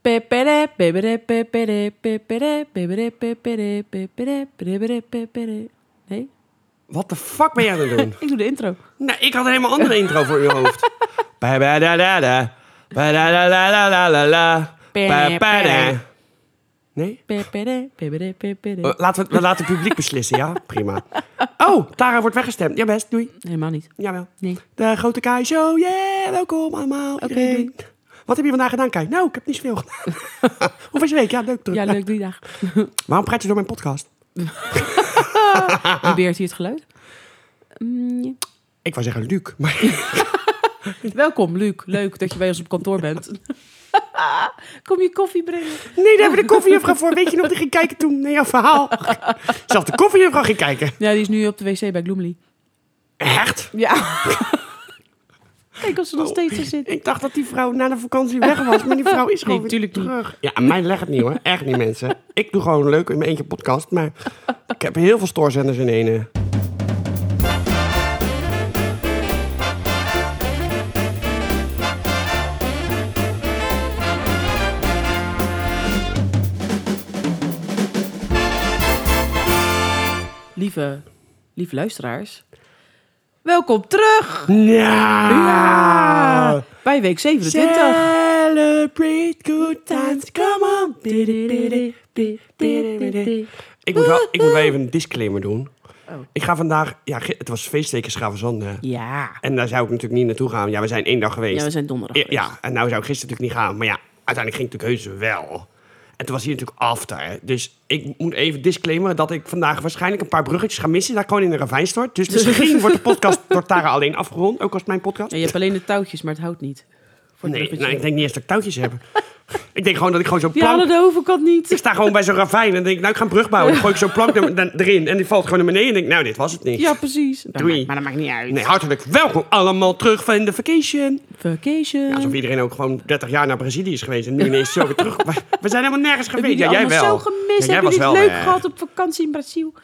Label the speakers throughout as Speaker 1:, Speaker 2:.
Speaker 1: pepere, pepere, pepere, pepere, pepere, pepere, pepere, pepere, pepere. Nee?
Speaker 2: Wat de fuck ben jij aan het doen?
Speaker 1: Ik doe de intro.
Speaker 2: nou, ik had een helemaal andere intro voor je hoofd. Ba, ba, da, da, da. Ba, da, da, la, la, la, la, la. Ba, ba, da. Nee?
Speaker 1: Pepere, pepere,
Speaker 2: Eh,
Speaker 1: pepere.
Speaker 2: Laten we, we laten het publiek beslissen, ja? Prima. Oh, Tara wordt weggestemd. Ja best, doei.
Speaker 1: Helemaal niet.
Speaker 2: Jawel.
Speaker 1: Nee.
Speaker 2: De Grote Kai Show, yeah, welkom allemaal. iedereen. Wat heb je vandaag gedaan, Kai? Nou, ik heb niet zoveel gedaan. Hoe was je week? Ja, leuk. Druk.
Speaker 1: Ja, leuk, drie dagen.
Speaker 2: Waarom praat je door mijn podcast?
Speaker 1: Wie beheert hier het geluid? Mm, ja.
Speaker 2: Ik wou zeggen Luc, maar
Speaker 1: Welkom, Luc. Leuk dat je bij ons op kantoor bent. Kom je koffie brengen?
Speaker 2: nee, daar hebben we de koffiejuffrouw voor. Weet je nog, die ging kijken toen naar jouw verhaal. Zelfs de koffiejuffrouw ging kijken.
Speaker 1: Ja, die is nu op de wc bij Gloomly.
Speaker 2: Echt?
Speaker 1: Ja. Kijk of ze nog steeds er zit.
Speaker 2: Oh. Ik dacht dat die vrouw na de vakantie weg was, maar die vrouw is gewoon
Speaker 1: Nee,
Speaker 2: weer
Speaker 1: tuurlijk niet.
Speaker 2: terug. Ja, aan mij legt het niet hoor. Echt niet, mensen. Ik doe gewoon leuk in mijn eentje podcast, maar ik heb heel veel stoorzenders in één. eh.
Speaker 1: Lieve, lieve luisteraars. Welkom terug
Speaker 2: Ja! Ah.
Speaker 1: Ja, bij week 27.
Speaker 2: Celebrate good times, come on. Ik moet, wel, ik moet wel even een disclaimer doen.
Speaker 1: Oh.
Speaker 2: Ik ga vandaag... Ja, ge- het was feestteken Schavenzanden.
Speaker 1: Ja.
Speaker 2: En daar zou ik natuurlijk niet naartoe gaan. Ja, we zijn één dag geweest.
Speaker 1: Ja, we zijn donderdag.
Speaker 2: Ja,
Speaker 1: geweest.
Speaker 2: ja, en nou zou ik gisteren natuurlijk niet gaan. Maar ja, uiteindelijk ging ik natuurlijk heus wel. En toen was hier natuurlijk after. Dus ik moet even disclaimen dat ik vandaag waarschijnlijk een paar bruggetjes ga missen. Dat ik gewoon in een ravijn stort. Dus misschien wordt de podcast door Tara alleen afgerond. Ook als mijn podcast.
Speaker 1: Ja, je hebt alleen de touwtjes, maar het houdt niet. Voor het
Speaker 2: Nee,
Speaker 1: bruggetje.
Speaker 2: nou, ik denk niet eens dat ik touwtjes heb. ik denk gewoon dat ik gewoon zo'n
Speaker 1: Die
Speaker 2: plank...
Speaker 1: halen de overkant
Speaker 2: Ik
Speaker 1: niet.
Speaker 2: sta gewoon bij zo'n ravijn en denk, nou, ik ga een brug bouwen. Dan gooi ik zo'n plank er- dan- erin en die valt gewoon naar beneden. En denk, nou, dit was het niet.
Speaker 1: Ja, precies.
Speaker 2: Doei.
Speaker 1: Maar dat maakt niet uit.
Speaker 2: Nee, hartelijk welkom allemaal terug van de vacation.
Speaker 1: Vacation.
Speaker 2: Alsof iedereen ook gewoon 30 jaar naar Brazilië is geweest en nu ineens zo weer terug. We- We zijn helemaal nergens
Speaker 1: Heb jullie
Speaker 2: geweest. Ja, jij
Speaker 1: allemaal
Speaker 2: wel.
Speaker 1: zo gemist?
Speaker 2: Ja, jij
Speaker 1: Heb
Speaker 2: was
Speaker 1: jullie het
Speaker 2: wel
Speaker 1: leuk
Speaker 2: weg.
Speaker 1: gehad op vakantie in Brazil?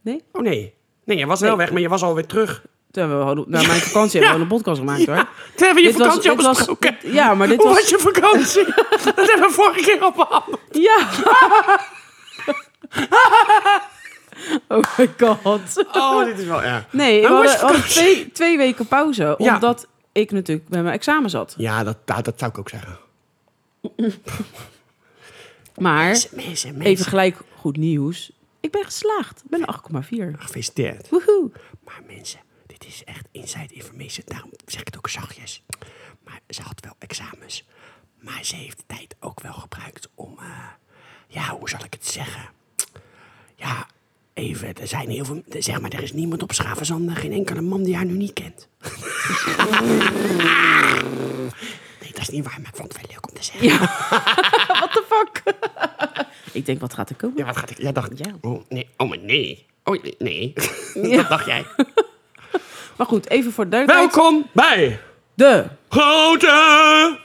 Speaker 1: Nee?
Speaker 2: Oh nee. Nee, jij was wel
Speaker 1: Nee.
Speaker 2: weg, maar je was alweer terug.
Speaker 1: Toen hebben we gewoon, na mijn vakantie hebben we een podcast gemaakt hoor.
Speaker 2: Toen hebben we je
Speaker 1: Dit was-
Speaker 2: vakantie al
Speaker 1: dit was-
Speaker 2: besproken.
Speaker 1: dit- ja, maar dit
Speaker 2: Hoe
Speaker 1: was-
Speaker 2: was je vakantie? Dat hebben we vorige keer al behandeld.
Speaker 1: Ja! oh my god.
Speaker 2: Oh, dit is wel erg.
Speaker 1: Nee, we
Speaker 2: Hoe was
Speaker 1: hadden, we
Speaker 2: je
Speaker 1: hadden
Speaker 2: vakantie?
Speaker 1: twee, twee weken pauze.
Speaker 2: Ja.
Speaker 1: Omdat ik natuurlijk bij mijn examen zat.
Speaker 2: Ja, dat, dat, dat zou ik ook zeggen.
Speaker 1: Maar
Speaker 2: Mensen,
Speaker 1: even
Speaker 2: mensen.
Speaker 1: gelijk goed nieuws. Ik ben geslaagd. Ik ben een 8,4.
Speaker 2: Gefeliciteerd.
Speaker 1: Woehoe.
Speaker 2: Maar mensen, dit is echt inside information. Daarom zeg ik het ook zachtjes. Maar ze had wel examens. Maar ze heeft de tijd ook wel gebruikt om... eh, ja, hoe zal ik het zeggen? Ja, even, er zijn heel veel... Zeg maar, er is niemand op Schavenzanden. Geen enkele man die haar nu niet kent. nee, dat is niet waar, maar ik vond het wel leuk om te zeggen.
Speaker 1: Ja. What the fuck? ik denk, wat gaat er komen?
Speaker 2: Ja, wat gaat ik... Ja, dacht...
Speaker 1: Ja.
Speaker 2: Oh, nee. Oh, maar nee. Oh, nee.
Speaker 1: Ja.
Speaker 2: Dat dacht jij.
Speaker 1: Maar goed, even voor de duidelijkheid.
Speaker 2: Welkom bij...
Speaker 1: De
Speaker 2: Grote...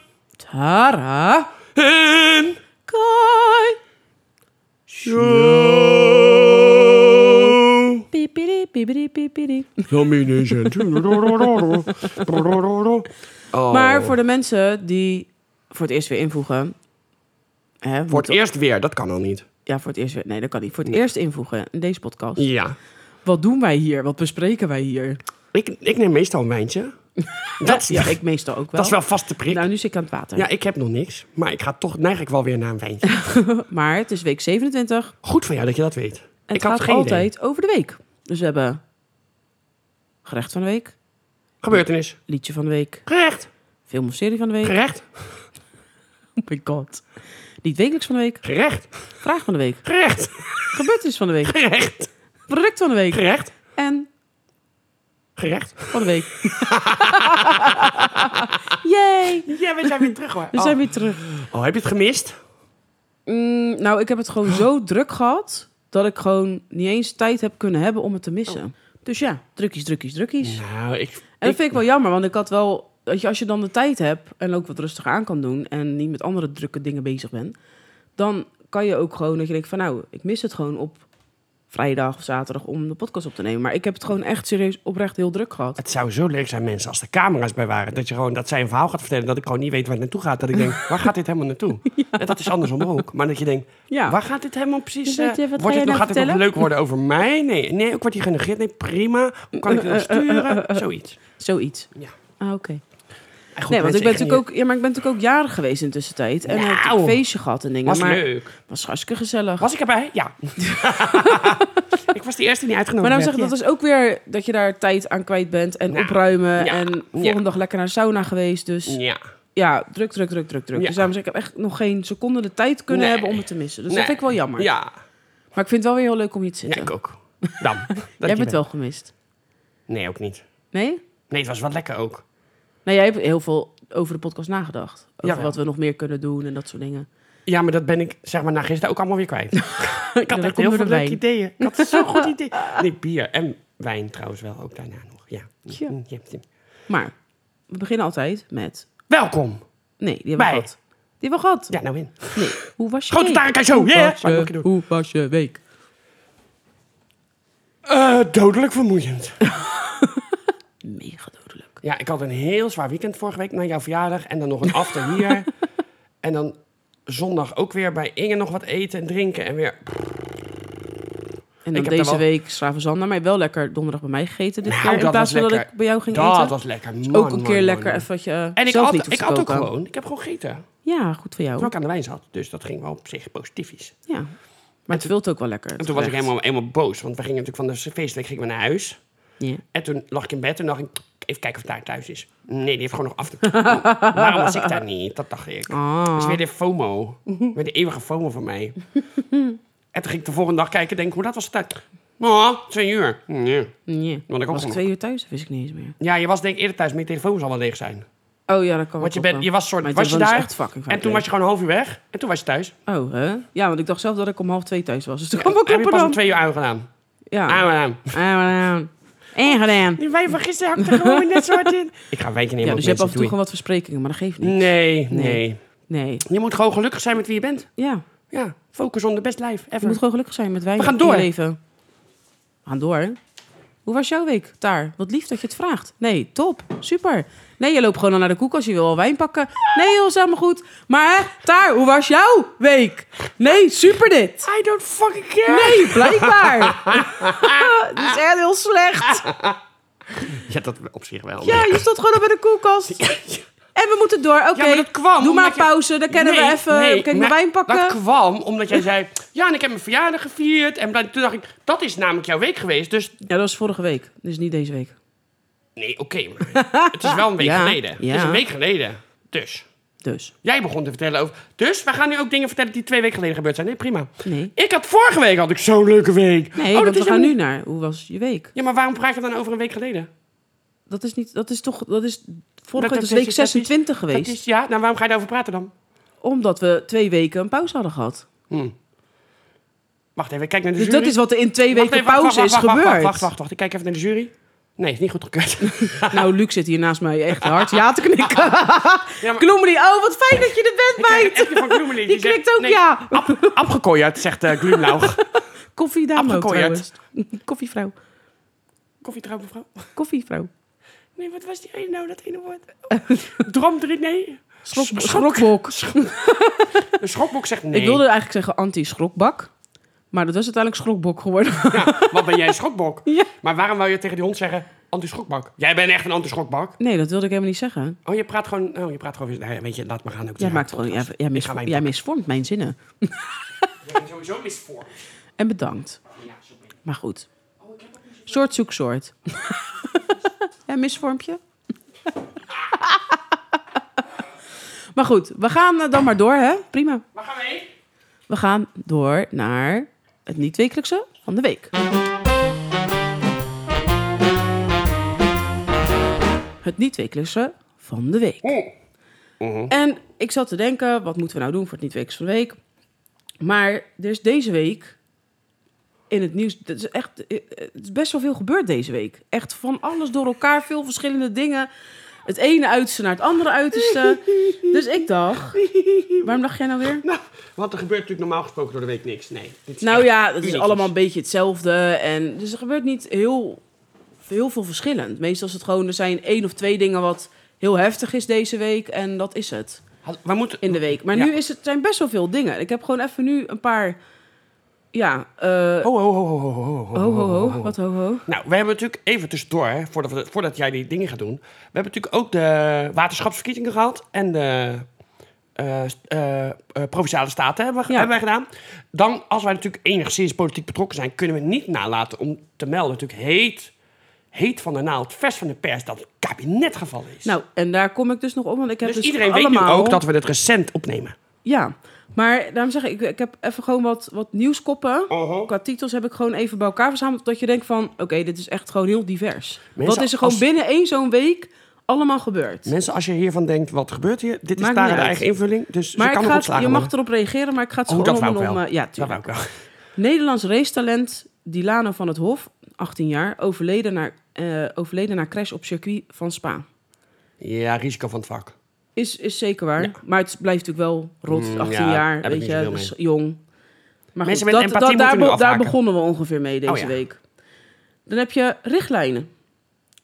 Speaker 1: Tara
Speaker 2: En
Speaker 1: Kai.
Speaker 2: show.
Speaker 1: Pipiri, pipiri, pipiri.
Speaker 2: Domination. Oh.
Speaker 1: Maar voor de mensen die voor het eerst weer invoegen. Hè,
Speaker 2: Voor het
Speaker 1: moeten-
Speaker 2: eerst weer, dat kan al niet.
Speaker 1: Ja, voor het eerst weer. Nee, dat kan niet. Voor het eerst invoegen in deze podcast.
Speaker 2: Ja.
Speaker 1: Wat doen wij hier? Wat bespreken wij hier?
Speaker 2: Ik, ik neem meestal een wijntje. Dat is,
Speaker 1: Ja, ik meestal ook wel.
Speaker 2: dat is wel vast te prik.
Speaker 1: Nou, nu zit ik aan het water.
Speaker 2: Ja, ik heb nog niks. Maar ik ga toch, neig ik wel weer naar een wijntje.
Speaker 1: Maar het is week 27
Speaker 2: Goed van jou dat je dat weet.
Speaker 1: en
Speaker 2: ik
Speaker 1: het
Speaker 2: had
Speaker 1: gaat
Speaker 2: geen
Speaker 1: altijd
Speaker 2: idee.
Speaker 1: over de week. Dus we hebben gerecht van de week,
Speaker 2: Gebeurtenis.
Speaker 1: liedje van de week,
Speaker 2: Gerecht.
Speaker 1: film of serie van de week.
Speaker 2: Gerecht.
Speaker 1: Oh my god. Niet wekelijks van de week,
Speaker 2: Gerecht.
Speaker 1: vraag van de week,
Speaker 2: Gerecht.
Speaker 1: gebeurtenis van de week,
Speaker 2: Gerecht.
Speaker 1: product van de week
Speaker 2: Gerecht.
Speaker 1: en
Speaker 2: Gerecht.
Speaker 1: van de week. Yay!
Speaker 2: Ja, we zijn weer terug hoor.
Speaker 1: We zijn weer terug.
Speaker 2: Oh. oh, heb je het gemist?
Speaker 1: Mm, nou, ik heb het gewoon zo druk gehad dat ik gewoon niet eens tijd heb kunnen hebben om het te missen.
Speaker 2: Oh.
Speaker 1: Dus ja, drukkies, drukkies, drukkies.
Speaker 2: Nou, ik...
Speaker 1: En dat vind ik wel jammer, want ik had wel... Weet je, als je dan de tijd hebt en ook wat rustiger aan kan doen... en niet met andere drukke dingen bezig bent... dan kan je ook gewoon dat je denkt van... nou, ik mis het gewoon op vrijdag of zaterdag om de podcast op te nemen. Maar ik heb het gewoon echt serieus oprecht heel druk gehad.
Speaker 2: Het zou zo leuk zijn, mensen, als er camera's bij waren. Dat, je gewoon, dat zij een verhaal gaat vertellen dat ik gewoon niet weet waar het naartoe gaat. Dat ik denk, waar gaat dit helemaal naartoe? En dat is andersom ook. Maar dat je denkt,
Speaker 1: Ja.
Speaker 2: waar gaat dit helemaal precies...
Speaker 1: Weet je,
Speaker 2: eh,
Speaker 1: wat
Speaker 2: wordt
Speaker 1: ga
Speaker 2: dit
Speaker 1: jij nou
Speaker 2: nog, gaat dit nog
Speaker 1: vertellen?
Speaker 2: leuk worden over mij? Nee, nee, ik word hier genegeerd. Nee, prima. Hoe
Speaker 1: Eh,
Speaker 2: kan ik dit nog sturen? Zoiets.
Speaker 1: Zoiets.
Speaker 2: Ja.
Speaker 1: Ah, oké.
Speaker 2: En goed,
Speaker 1: Nee, want
Speaker 2: mensen,
Speaker 1: ik ben,
Speaker 2: ging
Speaker 1: natuurlijk ook, ja, maar ik ben natuurlijk ook jarig geweest in de tussentijd. En heb ik
Speaker 2: Nou.
Speaker 1: een feestje gehad en
Speaker 2: hier-
Speaker 1: dingen.
Speaker 2: Was
Speaker 1: maar
Speaker 2: leuk.
Speaker 1: was hartstikke gezellig.
Speaker 2: Was ik erbij? Ja. ik was de eerste die
Speaker 1: maar
Speaker 2: uitgenodigd
Speaker 1: nou
Speaker 2: werd.
Speaker 1: zeg, dat
Speaker 2: Ja.
Speaker 1: is ook weer dat je daar tijd aan kwijt bent. En
Speaker 2: Nou,
Speaker 1: opruimen.
Speaker 2: ja,
Speaker 1: en volgende dag lekker naar de sauna geweest. Dus
Speaker 2: Ja.
Speaker 1: ja, druk, druk, druk, druk, druk.
Speaker 2: Ja.
Speaker 1: Dus daarom zeg ik, ik heb echt nog geen seconde de tijd kunnen
Speaker 2: Nee.
Speaker 1: hebben om het te missen. Dus
Speaker 2: Nee.
Speaker 1: dat vind ik wel jammer.
Speaker 2: Ja.
Speaker 1: Maar ik vind het wel weer heel leuk om hier te
Speaker 2: Ja,
Speaker 1: zitten.
Speaker 2: ik ook. Dan.
Speaker 1: jij hebt het wel gemist.
Speaker 2: Nee, ook niet.
Speaker 1: Nee?
Speaker 2: Nee, het was wel lekker ook.
Speaker 1: Nou, jij hebt heel veel over de podcast nagedacht. Over
Speaker 2: Jawel.
Speaker 1: wat we nog meer kunnen doen en dat soort dingen.
Speaker 2: Ja, maar dat ben ik, zeg maar, na gisteren ook allemaal weer kwijt. ik had
Speaker 1: dat komt
Speaker 2: echt heel
Speaker 1: door de
Speaker 2: veel leuke
Speaker 1: wijn.
Speaker 2: ideeën. Ik had zo'n goed idee. Nee, bier en wijn trouwens wel, ook daarna nog. Ja.
Speaker 1: Tja.
Speaker 2: Mm, ja, ja.
Speaker 1: Maar we beginnen altijd met...
Speaker 2: Welkom!
Speaker 1: Nee, die hebben we
Speaker 2: Bij.
Speaker 1: gehad. Die hebben we gehad.
Speaker 2: Ja, nou in.
Speaker 1: Nee, hoe was je
Speaker 2: Grote
Speaker 1: week?
Speaker 2: Tarek Show,
Speaker 1: Hoe
Speaker 2: yeah!
Speaker 1: was
Speaker 2: Wou ik nog
Speaker 1: je-
Speaker 2: een keer
Speaker 1: Hoe was je week?
Speaker 2: Eh, dodelijk vermoeiend.
Speaker 1: Mega dodelijk.
Speaker 2: Ja, ik had een heel zwaar weekend vorige week na jouw verjaardag. En dan nog een after hier. en dan zondag ook weer bij Inge nog wat eten en drinken. En weer...
Speaker 1: En dan
Speaker 2: heb daar
Speaker 1: deze
Speaker 2: wel-
Speaker 1: week Stravenzand naar mij wel lekker donderdag bij mij gegeten dit
Speaker 2: Nou,
Speaker 1: keer. In
Speaker 2: dat
Speaker 1: plaats
Speaker 2: was
Speaker 1: van dat
Speaker 2: lekker.
Speaker 1: ik bij jou ging
Speaker 2: dat
Speaker 1: eten.
Speaker 2: was lekker, man,
Speaker 1: Ook een
Speaker 2: man,
Speaker 1: keer
Speaker 2: man,
Speaker 1: lekker
Speaker 2: man.
Speaker 1: even wat je eh,
Speaker 2: En ik
Speaker 1: zelf
Speaker 2: had,
Speaker 1: niet hoeft te
Speaker 2: ik had ook
Speaker 1: koken.
Speaker 2: gewoon, ik heb gewoon gegeten.
Speaker 1: Ja, goed voor jou.
Speaker 2: Terwijl ik aan de wijn zat. Dus dat ging wel op zich positief.
Speaker 1: Ja. Maar het vult ook wel lekker.
Speaker 2: En toen was ik helemaal, helemaal boos, want we gingen natuurlijk van de feestweek gingen we naar huis. En toen lag ik in bed en dacht ik, even kijken of daar thuis is. Nee, die heeft gewoon nog af te Waarom was ik daar niet? Dat dacht ik.
Speaker 1: Ah.
Speaker 2: Dat is weer de FOMO. Weer de eeuwige FOMO van mij. en toen ging ik de volgende dag kijken en denk, hoe laat was het tijd? Oh, twee uur. Nee.
Speaker 1: Nee.
Speaker 2: Want ik ook
Speaker 1: Was ik
Speaker 2: nog-
Speaker 1: twee uur thuis? Dat wist ik niet eens meer.
Speaker 2: Ja, je was denk ik eerder thuis, maar je telefoon zal wel leeg zijn.
Speaker 1: Oh ja, dat kan
Speaker 2: Want je,
Speaker 1: wel kloppen.
Speaker 2: bent, je was soort,
Speaker 1: Mijn
Speaker 2: was je
Speaker 1: telefoon is
Speaker 2: daar
Speaker 1: echt fucking
Speaker 2: en toen
Speaker 1: vaak
Speaker 2: was je gewoon een half uur weg en toen was je thuis.
Speaker 1: leeg. Oh, hè? Ja, want ik dacht zelf dat ik om half twee thuis was. Dus toen kwam
Speaker 2: En
Speaker 1: ik
Speaker 2: heb je
Speaker 1: kloppen
Speaker 2: pas om
Speaker 1: dan.
Speaker 2: Ah.
Speaker 1: Ah.
Speaker 2: twee uur aangedaan.
Speaker 1: Ja. Eh,
Speaker 2: Aangedaan.
Speaker 1: Aangedaan. Aangedaan.
Speaker 2: Die wijn van gisteren hakte gewoon net zo hard in. Ik ga een wijntje nemen.
Speaker 1: Ja,
Speaker 2: want
Speaker 1: dus je hebt af en
Speaker 2: mensen,
Speaker 1: toe gewoon wat versprekingen, maar dat geeft
Speaker 2: doei.
Speaker 1: niet.
Speaker 2: Nee, nee,
Speaker 1: Nee. Nee.
Speaker 2: Je moet gewoon gelukkig zijn met wie je bent.
Speaker 1: Ja.
Speaker 2: Ja, focus on the best life
Speaker 1: Je
Speaker 2: ever.
Speaker 1: moet gewoon gelukkig zijn met wijn.
Speaker 2: We gaan
Speaker 1: in je
Speaker 2: door.
Speaker 1: leven. We gaan door. Hoe was jouw week, Taar? Wat lief dat je het vraagt. Nee, top. Super. Nee, je loopt gewoon al naar de koek als je wil al wijn pakken. Nee, joh, is helemaal goed. Maar hè, Taar, hoe was jouw week? Nee, super dit.
Speaker 2: I don't fucking care.
Speaker 1: Nee, blijkbaar. Dat is echt heel slecht.
Speaker 2: Ja, dat op zich wel.
Speaker 1: Ja, je stond gewoon op in de koelkast. En we moeten door. Oké,
Speaker 2: Ja, maar dat kwam
Speaker 1: doe maar
Speaker 2: omdat je-
Speaker 1: pauze. Dan kunnen we
Speaker 2: Nee,
Speaker 1: even
Speaker 2: nee,
Speaker 1: dan kan ik mijn
Speaker 2: maar
Speaker 1: wijn pakken.
Speaker 2: Dat kwam omdat jij zei... Ja, en ik heb mijn verjaardag gevierd. En bla- toen dacht ik, dat is namelijk jouw week geweest. Dus
Speaker 1: Ja, dat was vorige week. Dus niet deze week.
Speaker 2: nee, oké. maar het is wel een week
Speaker 1: Ja,
Speaker 2: geleden. Het is
Speaker 1: ja.
Speaker 2: een week geleden. Dus...
Speaker 1: Dus.
Speaker 2: Jij begon te vertellen over... Dus we gaan nu ook dingen vertellen die twee weken geleden gebeurd zijn. Nee, prima.
Speaker 1: Nee.
Speaker 2: Ik had vorige week had ik zo'n leuke week. Oh,
Speaker 1: Nee,
Speaker 2: dat
Speaker 1: want we
Speaker 2: is
Speaker 1: gaan
Speaker 2: een-
Speaker 1: nu naar. Hoe was je week?
Speaker 2: Ja, maar waarom praat je dan over een week geleden?
Speaker 1: Dat is niet. Dat is toch. Dat is vorige
Speaker 2: Dat-
Speaker 1: week is
Speaker 2: dat-
Speaker 1: week
Speaker 2: dat- dat is-
Speaker 1: 26
Speaker 2: Dat
Speaker 1: geweest.
Speaker 2: is, ja, nou waarom ga je daarover praten dan?
Speaker 1: Omdat we twee weken een pauze hadden gehad.
Speaker 2: Wacht even, ik kijk naar de
Speaker 1: Dus
Speaker 2: jury.
Speaker 1: dat is wat er in twee
Speaker 2: Wacht
Speaker 1: weken
Speaker 2: even, wacht,
Speaker 1: pauze
Speaker 2: wacht,
Speaker 1: is
Speaker 2: wacht, wacht,
Speaker 1: gebeurd.
Speaker 2: Wacht, wacht, wacht, wacht. Ik kijk even naar de jury. Nee, is niet goed gekeurd.
Speaker 1: Nou, Luc zit hier naast mij echt hard ja te knikken.
Speaker 2: Ja, maar-
Speaker 1: Gloemely, oh wat fijn dat je er bent,
Speaker 2: Kijk,
Speaker 1: meid.
Speaker 2: appje van Gloemeli,
Speaker 1: Die
Speaker 2: zegt-
Speaker 1: knikt ook
Speaker 2: nee,
Speaker 1: ja.
Speaker 2: Ab, abgekooierd, zegt eh Glumlaug.
Speaker 1: Koffie dame ook
Speaker 2: Afgekooierd.
Speaker 1: trouwens. Koffievrouw.
Speaker 2: Koffie trouwen, mevrouw.
Speaker 1: Koffievrouw.
Speaker 2: Nee, wat was die ene nou, dat ene woord? Drom erin, nee.
Speaker 1: Schrok,
Speaker 2: Schrok-
Speaker 1: schrokbok.
Speaker 2: De schokboek zegt nee.
Speaker 1: Ik wilde eigenlijk zeggen anti-schrokbak. Maar dat was uiteindelijk schrokbok geworden.
Speaker 2: Ja, Nou, wat ben jij, een schokbok?
Speaker 1: Ja.
Speaker 2: Maar waarom wou je tegen die hond zeggen, anti-schokbak? Jij bent echt een anti-schokbak.
Speaker 1: Nee, dat wilde ik helemaal niet zeggen.
Speaker 2: Oh, je praat gewoon... Oh, je praat gewoon... weer- Nee, weet je, laat maar gaan. Ook
Speaker 1: Jij
Speaker 2: Ja,
Speaker 1: maakt gewoon, jij, jij, mis-
Speaker 2: ga wijn
Speaker 1: jij misvormt mijn zinnen.
Speaker 2: Je bent sowieso misvormd.
Speaker 1: En bedankt.
Speaker 2: Ja, sorry.
Speaker 1: Maar goed. Soort zoek soort. Hè, misvormpje? maar goed, we gaan eh, dan maar door, hè? Prima.
Speaker 2: Maar gaan we heen?
Speaker 1: We gaan door naar het niet-wekelijkse van de week. Het niet-wekelijkse van de week.
Speaker 2: Hm.
Speaker 1: En ik zat te denken, wat moeten we nou doen voor het niet-wekelijkse van de week? Maar er is deze week in het nieuws... Het is, echt, eh, eh, het is best wel veel gebeurd deze week. Echt van alles door elkaar, veel verschillende dingen. het ene uiterste naar het andere uiterste. Dus ik dacht, waarom dacht jij nou weer?
Speaker 2: Nou, want er gebeurt natuurlijk normaal gesproken door de week niks. Nee. dit is
Speaker 1: Nou
Speaker 2: echt
Speaker 1: ja, het is
Speaker 2: uniekjes.
Speaker 1: allemaal een beetje hetzelfde. En, dus er gebeurt niet heel, heel veel verschillend. Meestal is het gewoon, er zijn één of twee dingen wat heel heftig is deze week. En dat is het
Speaker 2: Had- We moeten...
Speaker 1: in de week. Maar
Speaker 2: Ja.
Speaker 1: nu is het, zijn best wel veel dingen. Ik heb gewoon even nu een paar... Ja, eh
Speaker 2: Ho, ho, ho, ho, ho, ho, ho,
Speaker 1: ho, ho, ho. Wat ho, ho?
Speaker 2: Nou, we hebben natuurlijk even tussendoor, hè, voordat, we, voordat jij die dingen gaat doen. We hebben natuurlijk ook de waterschapsverkiezingen gehad en de eh, st- eh, eh, provinciale staten hebben, we,
Speaker 1: Ja.
Speaker 2: hebben wij gedaan. Dan, als wij natuurlijk enigszins politiek betrokken zijn, kunnen we niet nalaten om te melden, natuurlijk heet, heet van de naald, vers van de pers, dat het kabinet gevallen is.
Speaker 1: Nou, en daar kom ik dus nog op, want ik heb
Speaker 2: dus,
Speaker 1: dus,
Speaker 2: iedereen weet nu
Speaker 1: allemaal...
Speaker 2: ook dat we dit recent opnemen.
Speaker 1: Ja, maar daarom zeg ik, ik, ik heb even gewoon wat, wat nieuwskoppen.
Speaker 2: Oho.
Speaker 1: Qua titels heb ik gewoon even bij elkaar verzameld. Dat je denkt van, oké, dit is echt gewoon heel divers.
Speaker 2: Mensen,
Speaker 1: wat is er gewoon
Speaker 2: als-
Speaker 1: binnen één zo'n week allemaal gebeurd?
Speaker 2: Mensen, als je hiervan denkt, wat gebeurt hier? Dit
Speaker 1: Maakt
Speaker 2: is daar
Speaker 1: niet
Speaker 2: de
Speaker 1: uit.
Speaker 2: eigen invulling, dus
Speaker 1: maar
Speaker 2: ze
Speaker 1: ik
Speaker 2: kan
Speaker 1: ga
Speaker 2: erop
Speaker 1: het-
Speaker 2: slagen.
Speaker 1: je
Speaker 2: man.
Speaker 1: mag erop reageren, maar ik ga het
Speaker 2: Oh,
Speaker 1: gewoon
Speaker 2: dat wou ik
Speaker 1: allemaal
Speaker 2: wel.
Speaker 1: om, eh, ja,
Speaker 2: dat
Speaker 1: tuurlijk.
Speaker 2: wou ik wel.
Speaker 1: Nederlands racetalent Dilano van het Hof, 18 jaar, overleden na, eh, overleden na crash op circuit van Spa.
Speaker 2: Ja, risico van het vak.
Speaker 1: Is, is zeker waar.
Speaker 2: Ja.
Speaker 1: Maar het blijft natuurlijk wel rot,
Speaker 2: Mm,
Speaker 1: 18
Speaker 2: ja, heb
Speaker 1: jaar,
Speaker 2: ik
Speaker 1: weet
Speaker 2: niet
Speaker 1: je,
Speaker 2: zoveel
Speaker 1: dus jong. Maar
Speaker 2: Mensen
Speaker 1: goed,
Speaker 2: met
Speaker 1: dat, dat,
Speaker 2: empathie moeten
Speaker 1: daar,
Speaker 2: nu
Speaker 1: be- daar
Speaker 2: afhaken.
Speaker 1: begonnen we ongeveer mee deze
Speaker 2: Oh ja.
Speaker 1: week. Dan heb je richtlijnen.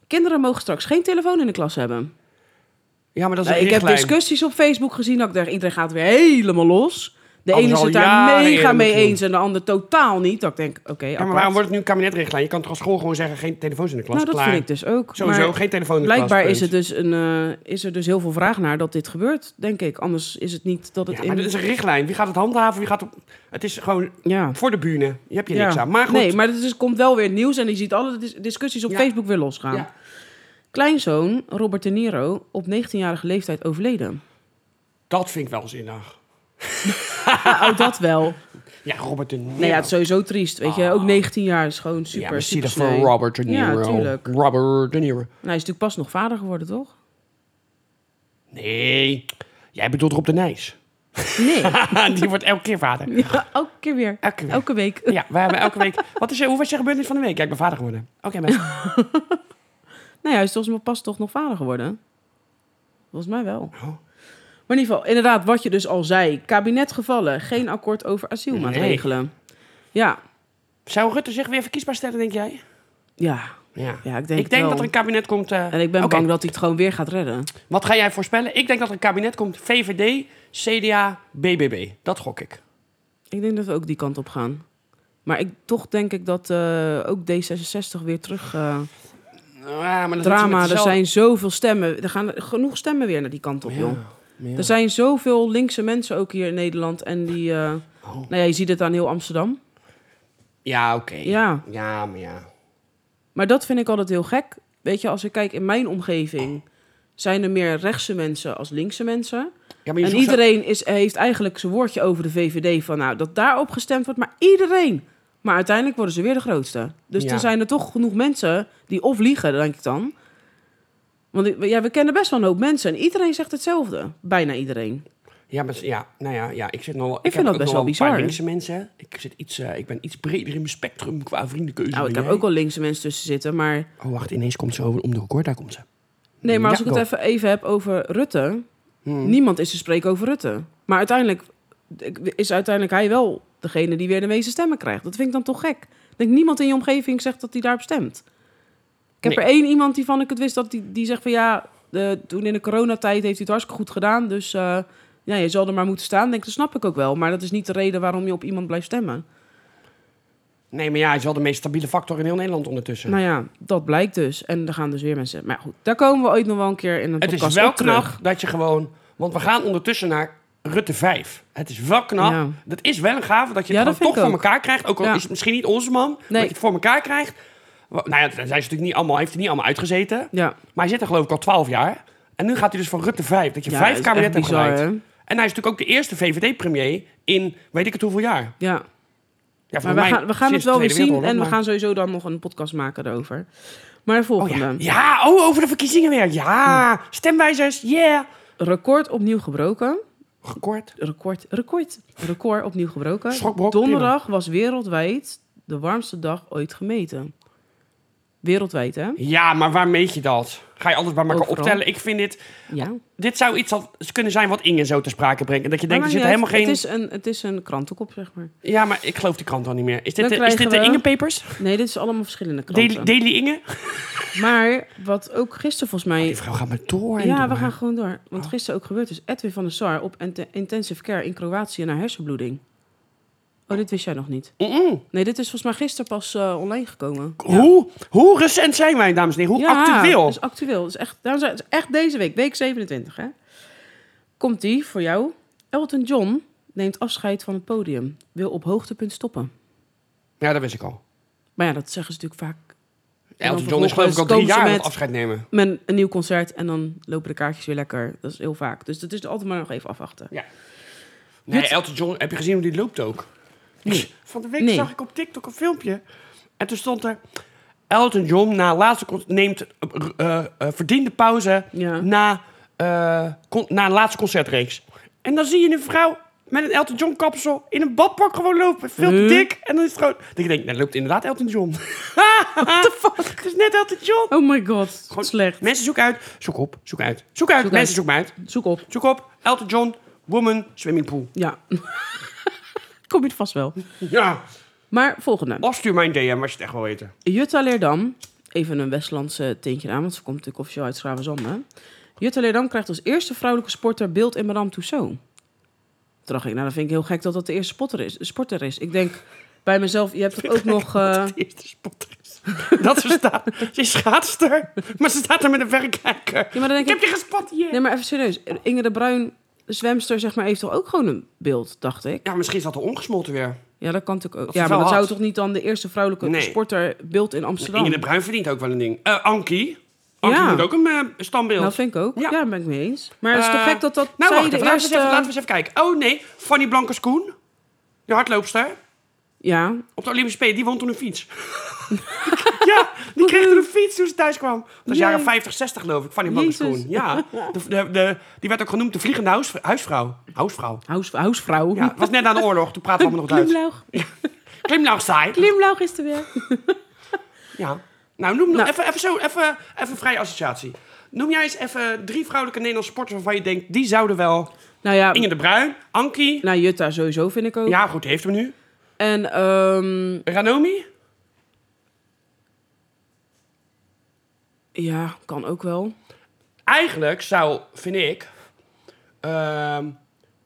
Speaker 1: Kinderen mogen straks geen telefoon in de klas hebben.
Speaker 2: Ja, maar dat is
Speaker 1: Nou,
Speaker 2: een
Speaker 1: ik heb
Speaker 2: richtlijn.
Speaker 1: discussies op Facebook gezien. Dat ik dacht, iedereen gaat weer helemaal los. De
Speaker 2: Anders
Speaker 1: ene is
Speaker 2: al
Speaker 1: het daar
Speaker 2: jaren
Speaker 1: mega
Speaker 2: eerder
Speaker 1: mee
Speaker 2: misschien.
Speaker 1: eens en de ander totaal niet. Dat ik denk, oké,
Speaker 2: Ja, maar
Speaker 1: apart.
Speaker 2: waarom wordt het nu een kabinetrichtlijn? Je kan toch als school gewoon zeggen, geen telefoons in de klas,
Speaker 1: Nou, dat
Speaker 2: klaar.
Speaker 1: vind ik dus ook.
Speaker 2: Sowieso,
Speaker 1: Maar
Speaker 2: geen telefoon in de klas,
Speaker 1: blijkbaar is, het
Speaker 2: punt.
Speaker 1: dus een, eh, is er dus heel veel vraag naar dat dit gebeurt, denk ik. Anders is het niet dat het
Speaker 2: Ja,
Speaker 1: in...
Speaker 2: maar dit is een richtlijn. Wie gaat het handhaven? Wie gaat op... Het is gewoon
Speaker 1: Ja.
Speaker 2: voor de bühne. Je hebt je
Speaker 1: Ja.
Speaker 2: niks aan. Maar goed,
Speaker 1: Nee, maar het is, komt wel weer het nieuws en je ziet alle dis- discussies op
Speaker 2: Ja.
Speaker 1: Facebook weer losgaan.
Speaker 2: Ja.
Speaker 1: Kleinzoon Robert De Niro op 19-jarige leeftijd overleden.
Speaker 2: dat vind ik wel zinnig.
Speaker 1: Ja, oh, dat wel.
Speaker 2: Ja, Robert de Niro.
Speaker 1: Nee, ja, het is sowieso triest, weet je. Ook 19 jaar is gewoon
Speaker 2: Oh. Ja,
Speaker 1: super,
Speaker 2: we zien
Speaker 1: super
Speaker 2: dat voor
Speaker 1: sneu.
Speaker 2: Robert de
Speaker 1: Ja,
Speaker 2: Niro.
Speaker 1: tuurlijk.
Speaker 2: Robert de Niro.
Speaker 1: En hij is natuurlijk pas nog vader geworden, toch?
Speaker 2: Nee, jij bedoelt Rob de Nijs.
Speaker 1: Nee.
Speaker 2: Die wordt elke keer vader.
Speaker 1: Ja, elke keer weer.
Speaker 2: Elke keer weer.
Speaker 1: Elke week.
Speaker 2: Ja, we hebben elke week... Wat is, je- hoe was je gebeurtenis van de week? Ja, ik ben vader geworden. Oké, mensen.
Speaker 1: Nee, Nou hij is volgens mij pas toch nog vader geworden. Volgens mij wel.
Speaker 2: Oh.
Speaker 1: Maar in ieder geval, inderdaad, wat je dus al zei. Kabinet gevallen, geen akkoord over asielmaatregelen. Ja,
Speaker 2: Zou Rutte zich weer verkiesbaar stellen, denk jij?
Speaker 1: ja.
Speaker 2: Ja,
Speaker 1: Ja, ik denk
Speaker 2: ik denk
Speaker 1: wel.
Speaker 2: dat er een kabinet komt. eh,
Speaker 1: En ik ben
Speaker 2: oké,
Speaker 1: bang dat hij het gewoon weer gaat redden.
Speaker 2: Wat ga jij voorspellen? Ik denk dat er een kabinet komt. VVD, CDA, BBB. Dat gok ik.
Speaker 1: Ik denk dat we ook die kant op gaan. Maar ik, toch denk ik dat eh, ook D66 weer terug... eh,
Speaker 2: Ah, maar dat
Speaker 1: drama, er
Speaker 2: doet ze met dezelfde-
Speaker 1: zijn zoveel stemmen. Er gaan genoeg stemmen weer naar die kant op, joh.
Speaker 2: Ja.
Speaker 1: Er zijn zoveel linkse mensen ook hier in Nederland. En die... eh, Nou ja, je ziet het aan heel Amsterdam.
Speaker 2: Ja, oké.
Speaker 1: Ja.
Speaker 2: ja, maar ja.
Speaker 1: Maar dat vind ik altijd heel gek. Weet je, als ik kijk in mijn omgeving, zijn er meer rechtse mensen als linkse mensen.
Speaker 2: ja maar je
Speaker 1: En
Speaker 2: zoekt-
Speaker 1: iedereen is, heeft eigenlijk zijn woordje over de VVD van nou dat daarop gestemd wordt, maar iedereen. Maar uiteindelijk worden ze weer de grootste. Dus
Speaker 2: Ja.
Speaker 1: er zijn er toch genoeg mensen die of liegen, denk ik dan. Want ik- ja, we kennen best wel een hoop mensen en iedereen zegt hetzelfde. Bijna iedereen.
Speaker 2: Ja, maar, ja, nou ja, ja, ik zit nog wel... Ik,
Speaker 1: vind
Speaker 2: heb
Speaker 1: dat
Speaker 2: ook
Speaker 1: best
Speaker 2: nog
Speaker 1: wel
Speaker 2: een paar
Speaker 1: bizar.
Speaker 2: linkse mensen. Ik, zit iets, eh, ik ben iets breder in mijn spectrum qua vriendenkeuze.
Speaker 1: Nou, ik
Speaker 2: dan
Speaker 1: heb
Speaker 2: jij.
Speaker 1: ook wel linkse mensen tussen zitten, maar...
Speaker 2: Oh, wacht, ineens komt ze over om de hoek, hoor. Daar komt ze.
Speaker 1: Nee, maar als
Speaker 2: Ja,
Speaker 1: ik het
Speaker 2: klopt.
Speaker 1: even, even heb over Rutte.
Speaker 2: Hmm.
Speaker 1: Niemand is te spreken over Rutte. Maar uiteindelijk ik- is uiteindelijk hij wel degene die weer de meeste stemmen krijgt. Dat vind ik dan toch gek. Ik denk niemand in je omgeving zegt dat hij daarop stemt. Ik heb
Speaker 2: Nee.
Speaker 1: er één iemand die van ik het wist dat die, die zegt van ja, eh, toen in de coronatijd heeft hij het hartstikke goed gedaan. Dus eh, ja, je zal er maar moeten staan. Ik Denk, dat snap ik ook wel. Maar dat is niet de reden waarom je op iemand blijft stemmen.
Speaker 2: Nee, maar ja, hij is wel de meest stabiele factor in heel Nederland ondertussen.
Speaker 1: Nou ja, dat blijkt dus. En er gaan dus weer mensen. Maar goed, daar komen we ooit nog wel een keer in een
Speaker 2: Het
Speaker 1: podcast
Speaker 2: is wel
Speaker 1: op terug.
Speaker 2: knap dat je gewoon... Want we gaan ondertussen naar Rutte 5. Het is wel knap.
Speaker 1: Ja.
Speaker 2: Dat is wel een gave dat je
Speaker 1: Ja,
Speaker 2: het
Speaker 1: dat
Speaker 2: gewoon toch
Speaker 1: vind
Speaker 2: voor
Speaker 1: ik
Speaker 2: elkaar krijgt. Ook al
Speaker 1: Ja.
Speaker 2: is het misschien niet onze man. Dat
Speaker 1: Nee.
Speaker 2: je het voor elkaar krijgt. Wa- Nou ja, daar zijn ze natuurlijk niet allemaal, heeft hij niet allemaal uitgezeten.
Speaker 1: Ja,
Speaker 2: Maar hij zit er geloof ik al 12 jaar. En nu gaat hij dus voor Rutte 5. Dat je
Speaker 1: Ja,
Speaker 2: vijf
Speaker 1: is echt
Speaker 2: kabinetten hebt
Speaker 1: bizar,
Speaker 2: geleid.
Speaker 1: hè?
Speaker 2: En hij is natuurlijk ook de eerste VVD-premier in weet ik het hoeveel jaar.
Speaker 1: ja.
Speaker 2: Ja, voor
Speaker 1: Maar we
Speaker 2: mij
Speaker 1: gaan, we gaan het
Speaker 2: sinds
Speaker 1: wel
Speaker 2: de
Speaker 1: weer
Speaker 2: Tweede
Speaker 1: zien
Speaker 2: Wereldoorlog,
Speaker 1: en we
Speaker 2: maar-
Speaker 1: gaan sowieso dan nog een podcast maken erover. Maar de
Speaker 2: Oh
Speaker 1: volgende.
Speaker 2: ja. ja, oh, over de verkiezingen weer. Ja, stemwijzers, yeah.
Speaker 1: Record opnieuw gebroken.
Speaker 2: Gekort.
Speaker 1: Record, record, record opnieuw gebroken.
Speaker 2: Schokbrok,
Speaker 1: Donderdag was wereldwijd de warmste dag ooit gemeten. Wereldwijd, hè?
Speaker 2: Ja, maar waar meet je dat? Ga je alles bij elkaar
Speaker 1: Overal.
Speaker 2: optellen? Ik vind dit...
Speaker 1: Ja.
Speaker 2: Dit zou iets al- kunnen zijn wat Inge zo te sprake brengt. En dat je denkt,
Speaker 1: Maar
Speaker 2: er zit
Speaker 1: maakt niet
Speaker 2: helemaal geen...
Speaker 1: uit. Het is, een, het is een krantenkop, zeg maar.
Speaker 2: Ja, maar ik geloof die krant al niet meer. Is dit,
Speaker 1: Dan
Speaker 2: de, is dit de
Speaker 1: krijgen we-
Speaker 2: Inge Papers?
Speaker 1: Nee, dit is allemaal verschillende kranten.
Speaker 2: Daily, Daily Inge?
Speaker 1: Maar wat ook gisteren volgens mij...
Speaker 2: Die vrouw Oh, gaat maar door en
Speaker 1: Ja,
Speaker 2: door.
Speaker 1: we gaan gewoon door.
Speaker 2: Oh.
Speaker 1: Want gisteren ook gebeurd is Edwin van der Sar op int- intensive care in Kroatië naar hersenbloeding. Oh, dit wist jij nog niet.
Speaker 2: Mm-mm.
Speaker 1: Nee, dit is volgens mij gisteren pas eh, online gekomen.
Speaker 2: Hoe, hoe recent zijn wij, dames en heren? Hoe actueel?
Speaker 1: Het is actueel. Het is echt, daarom zei- het is echt deze week, week 27. Hè? Komt die voor jou? Elton John neemt afscheid van het podium. Wil op hoogtepunt stoppen.
Speaker 2: Ja, dat wist ik al.
Speaker 1: Maar ja, dat zeggen ze natuurlijk vaak. En dan
Speaker 2: Elton John is geloof ik al
Speaker 1: vervolgens
Speaker 2: drie
Speaker 1: komen ze
Speaker 2: jaar aan
Speaker 1: met-
Speaker 2: het afscheid nemen.
Speaker 1: Met een nieuw concert en dan lopen de kaartjes weer lekker. Dat is heel vaak. Dus dat is altijd maar nog even afwachten.
Speaker 2: Nee,
Speaker 1: Dit-
Speaker 2: Elton John, heb je gezien hoe die loopt ook?
Speaker 1: Nee.
Speaker 2: Van de week
Speaker 1: Nee.
Speaker 2: zag ik op TikTok een filmpje. En toen stond er... Elton John na laatste con- neemt eh, eh, eh, verdiende pauze
Speaker 1: Ja.
Speaker 2: na, eh, con- na een laatste concertreeks. En dan zie je een vrouw met een Elton John kapsel in een badpak gewoon lopen. Veel te
Speaker 1: Huh?
Speaker 2: dik. En dan is het gewoon... Dat je denkt, nou loopt inderdaad Elton John. fuck? Het is net Elton John.
Speaker 1: Oh my god,
Speaker 2: Gewoon-
Speaker 1: slecht.
Speaker 2: Mensen zoek uit. Zoek op. Zoek uit. Zoek uit.
Speaker 1: Zoek
Speaker 2: Mensen
Speaker 1: uit.
Speaker 2: zoek mij uit.
Speaker 1: Zoek op.
Speaker 2: Zoek op. Elton John. Woman. Swimmingpool.
Speaker 1: Ja. Kom je het vast wel.
Speaker 2: Ja.
Speaker 1: Maar volgende.
Speaker 2: Of stuur mij een DM als je het echt wil weten.
Speaker 1: Jutta Leerdam, even een Westlandse tintje aan, want ze komt natuurlijk officieel uit Schravenzand. hè? Jutta Leerdam krijgt als eerste vrouwelijke sporter beeld in Madame Tussauds. Toen dacht ik, nou, dat vind ik heel gek dat dat de eerste spotter is. Sporter is. Ik denk bij mezelf, je hebt toch ook nog... eh,
Speaker 2: De eerste spotter is. Dat ze staat. Ze is schaatster. Maar ze staat er met een verrekijker.
Speaker 1: Ja, maar dan
Speaker 2: Ik
Speaker 1: denk
Speaker 2: heb
Speaker 1: ik...
Speaker 2: je gespot hier.
Speaker 1: Nee, maar even serieus. Inge de Bruin, de zwemster, zeg maar, heeft toch ook gewoon een beeld, dacht ik.
Speaker 2: Ja, misschien is dat al ongesmolten weer.
Speaker 1: Ja, dat kan natuurlijk ook.
Speaker 2: is
Speaker 1: Ja, maar
Speaker 2: wel
Speaker 1: dat
Speaker 2: hard.
Speaker 1: zou toch niet dan de eerste vrouwelijke
Speaker 2: Nee.
Speaker 1: sporter beeld in Amsterdam?
Speaker 2: Inge de Bruin verdient ook wel een ding. Eh Ankie. Ankie
Speaker 1: Ja.
Speaker 2: moet ook een eh, standbeeld.
Speaker 1: Nou, vind ik ook.
Speaker 2: Ja.
Speaker 1: Ja, daar ben ik mee eens. Maar het is toch
Speaker 2: Eh,
Speaker 1: gek dat dat
Speaker 2: nou,
Speaker 1: zij
Speaker 2: wacht
Speaker 1: de
Speaker 2: even, laten, we eens
Speaker 1: eerste...
Speaker 2: even, laten we eens even kijken. Oh nee, Fanny Blankers-Koen. De hardloopster.
Speaker 1: Ja,
Speaker 2: Op de Olympische Spelen, die won toen een fiets. ja, die kreeg toen een fiets toen ze thuis kwam. Dat was
Speaker 1: Jee.
Speaker 2: jaren 50, 60 geloof ik, Fanny Blankers-Koen.
Speaker 1: Jezus.
Speaker 2: Ja, de, de, de- die werd ook genoemd de vliegende huis, huisvrouw. Huisvrouw.
Speaker 1: Huis, huisvrouw.
Speaker 2: Ja, het was net na de oorlog, toen praten we allemaal nog Duits.
Speaker 1: Klimlaug.
Speaker 2: Glimlach saai.
Speaker 1: Klimlaug is er weer.
Speaker 2: Ja. Nou, noem nog
Speaker 1: Nou.
Speaker 2: Even, even zo, even, even vrije associatie. Noem jij eens even drie vrouwelijke Nederlandse sporters waarvan je denkt, die zouden wel...
Speaker 1: Nou ja,
Speaker 2: Inge de Bruin, Ankie.
Speaker 1: nou, Jutta sowieso vind ik ook.
Speaker 2: Ja, goed, die heeft hem nu.
Speaker 1: En ehm,
Speaker 2: Ranomi?
Speaker 1: ja, kan ook wel.
Speaker 2: eigenlijk zou, vind ik, ehm,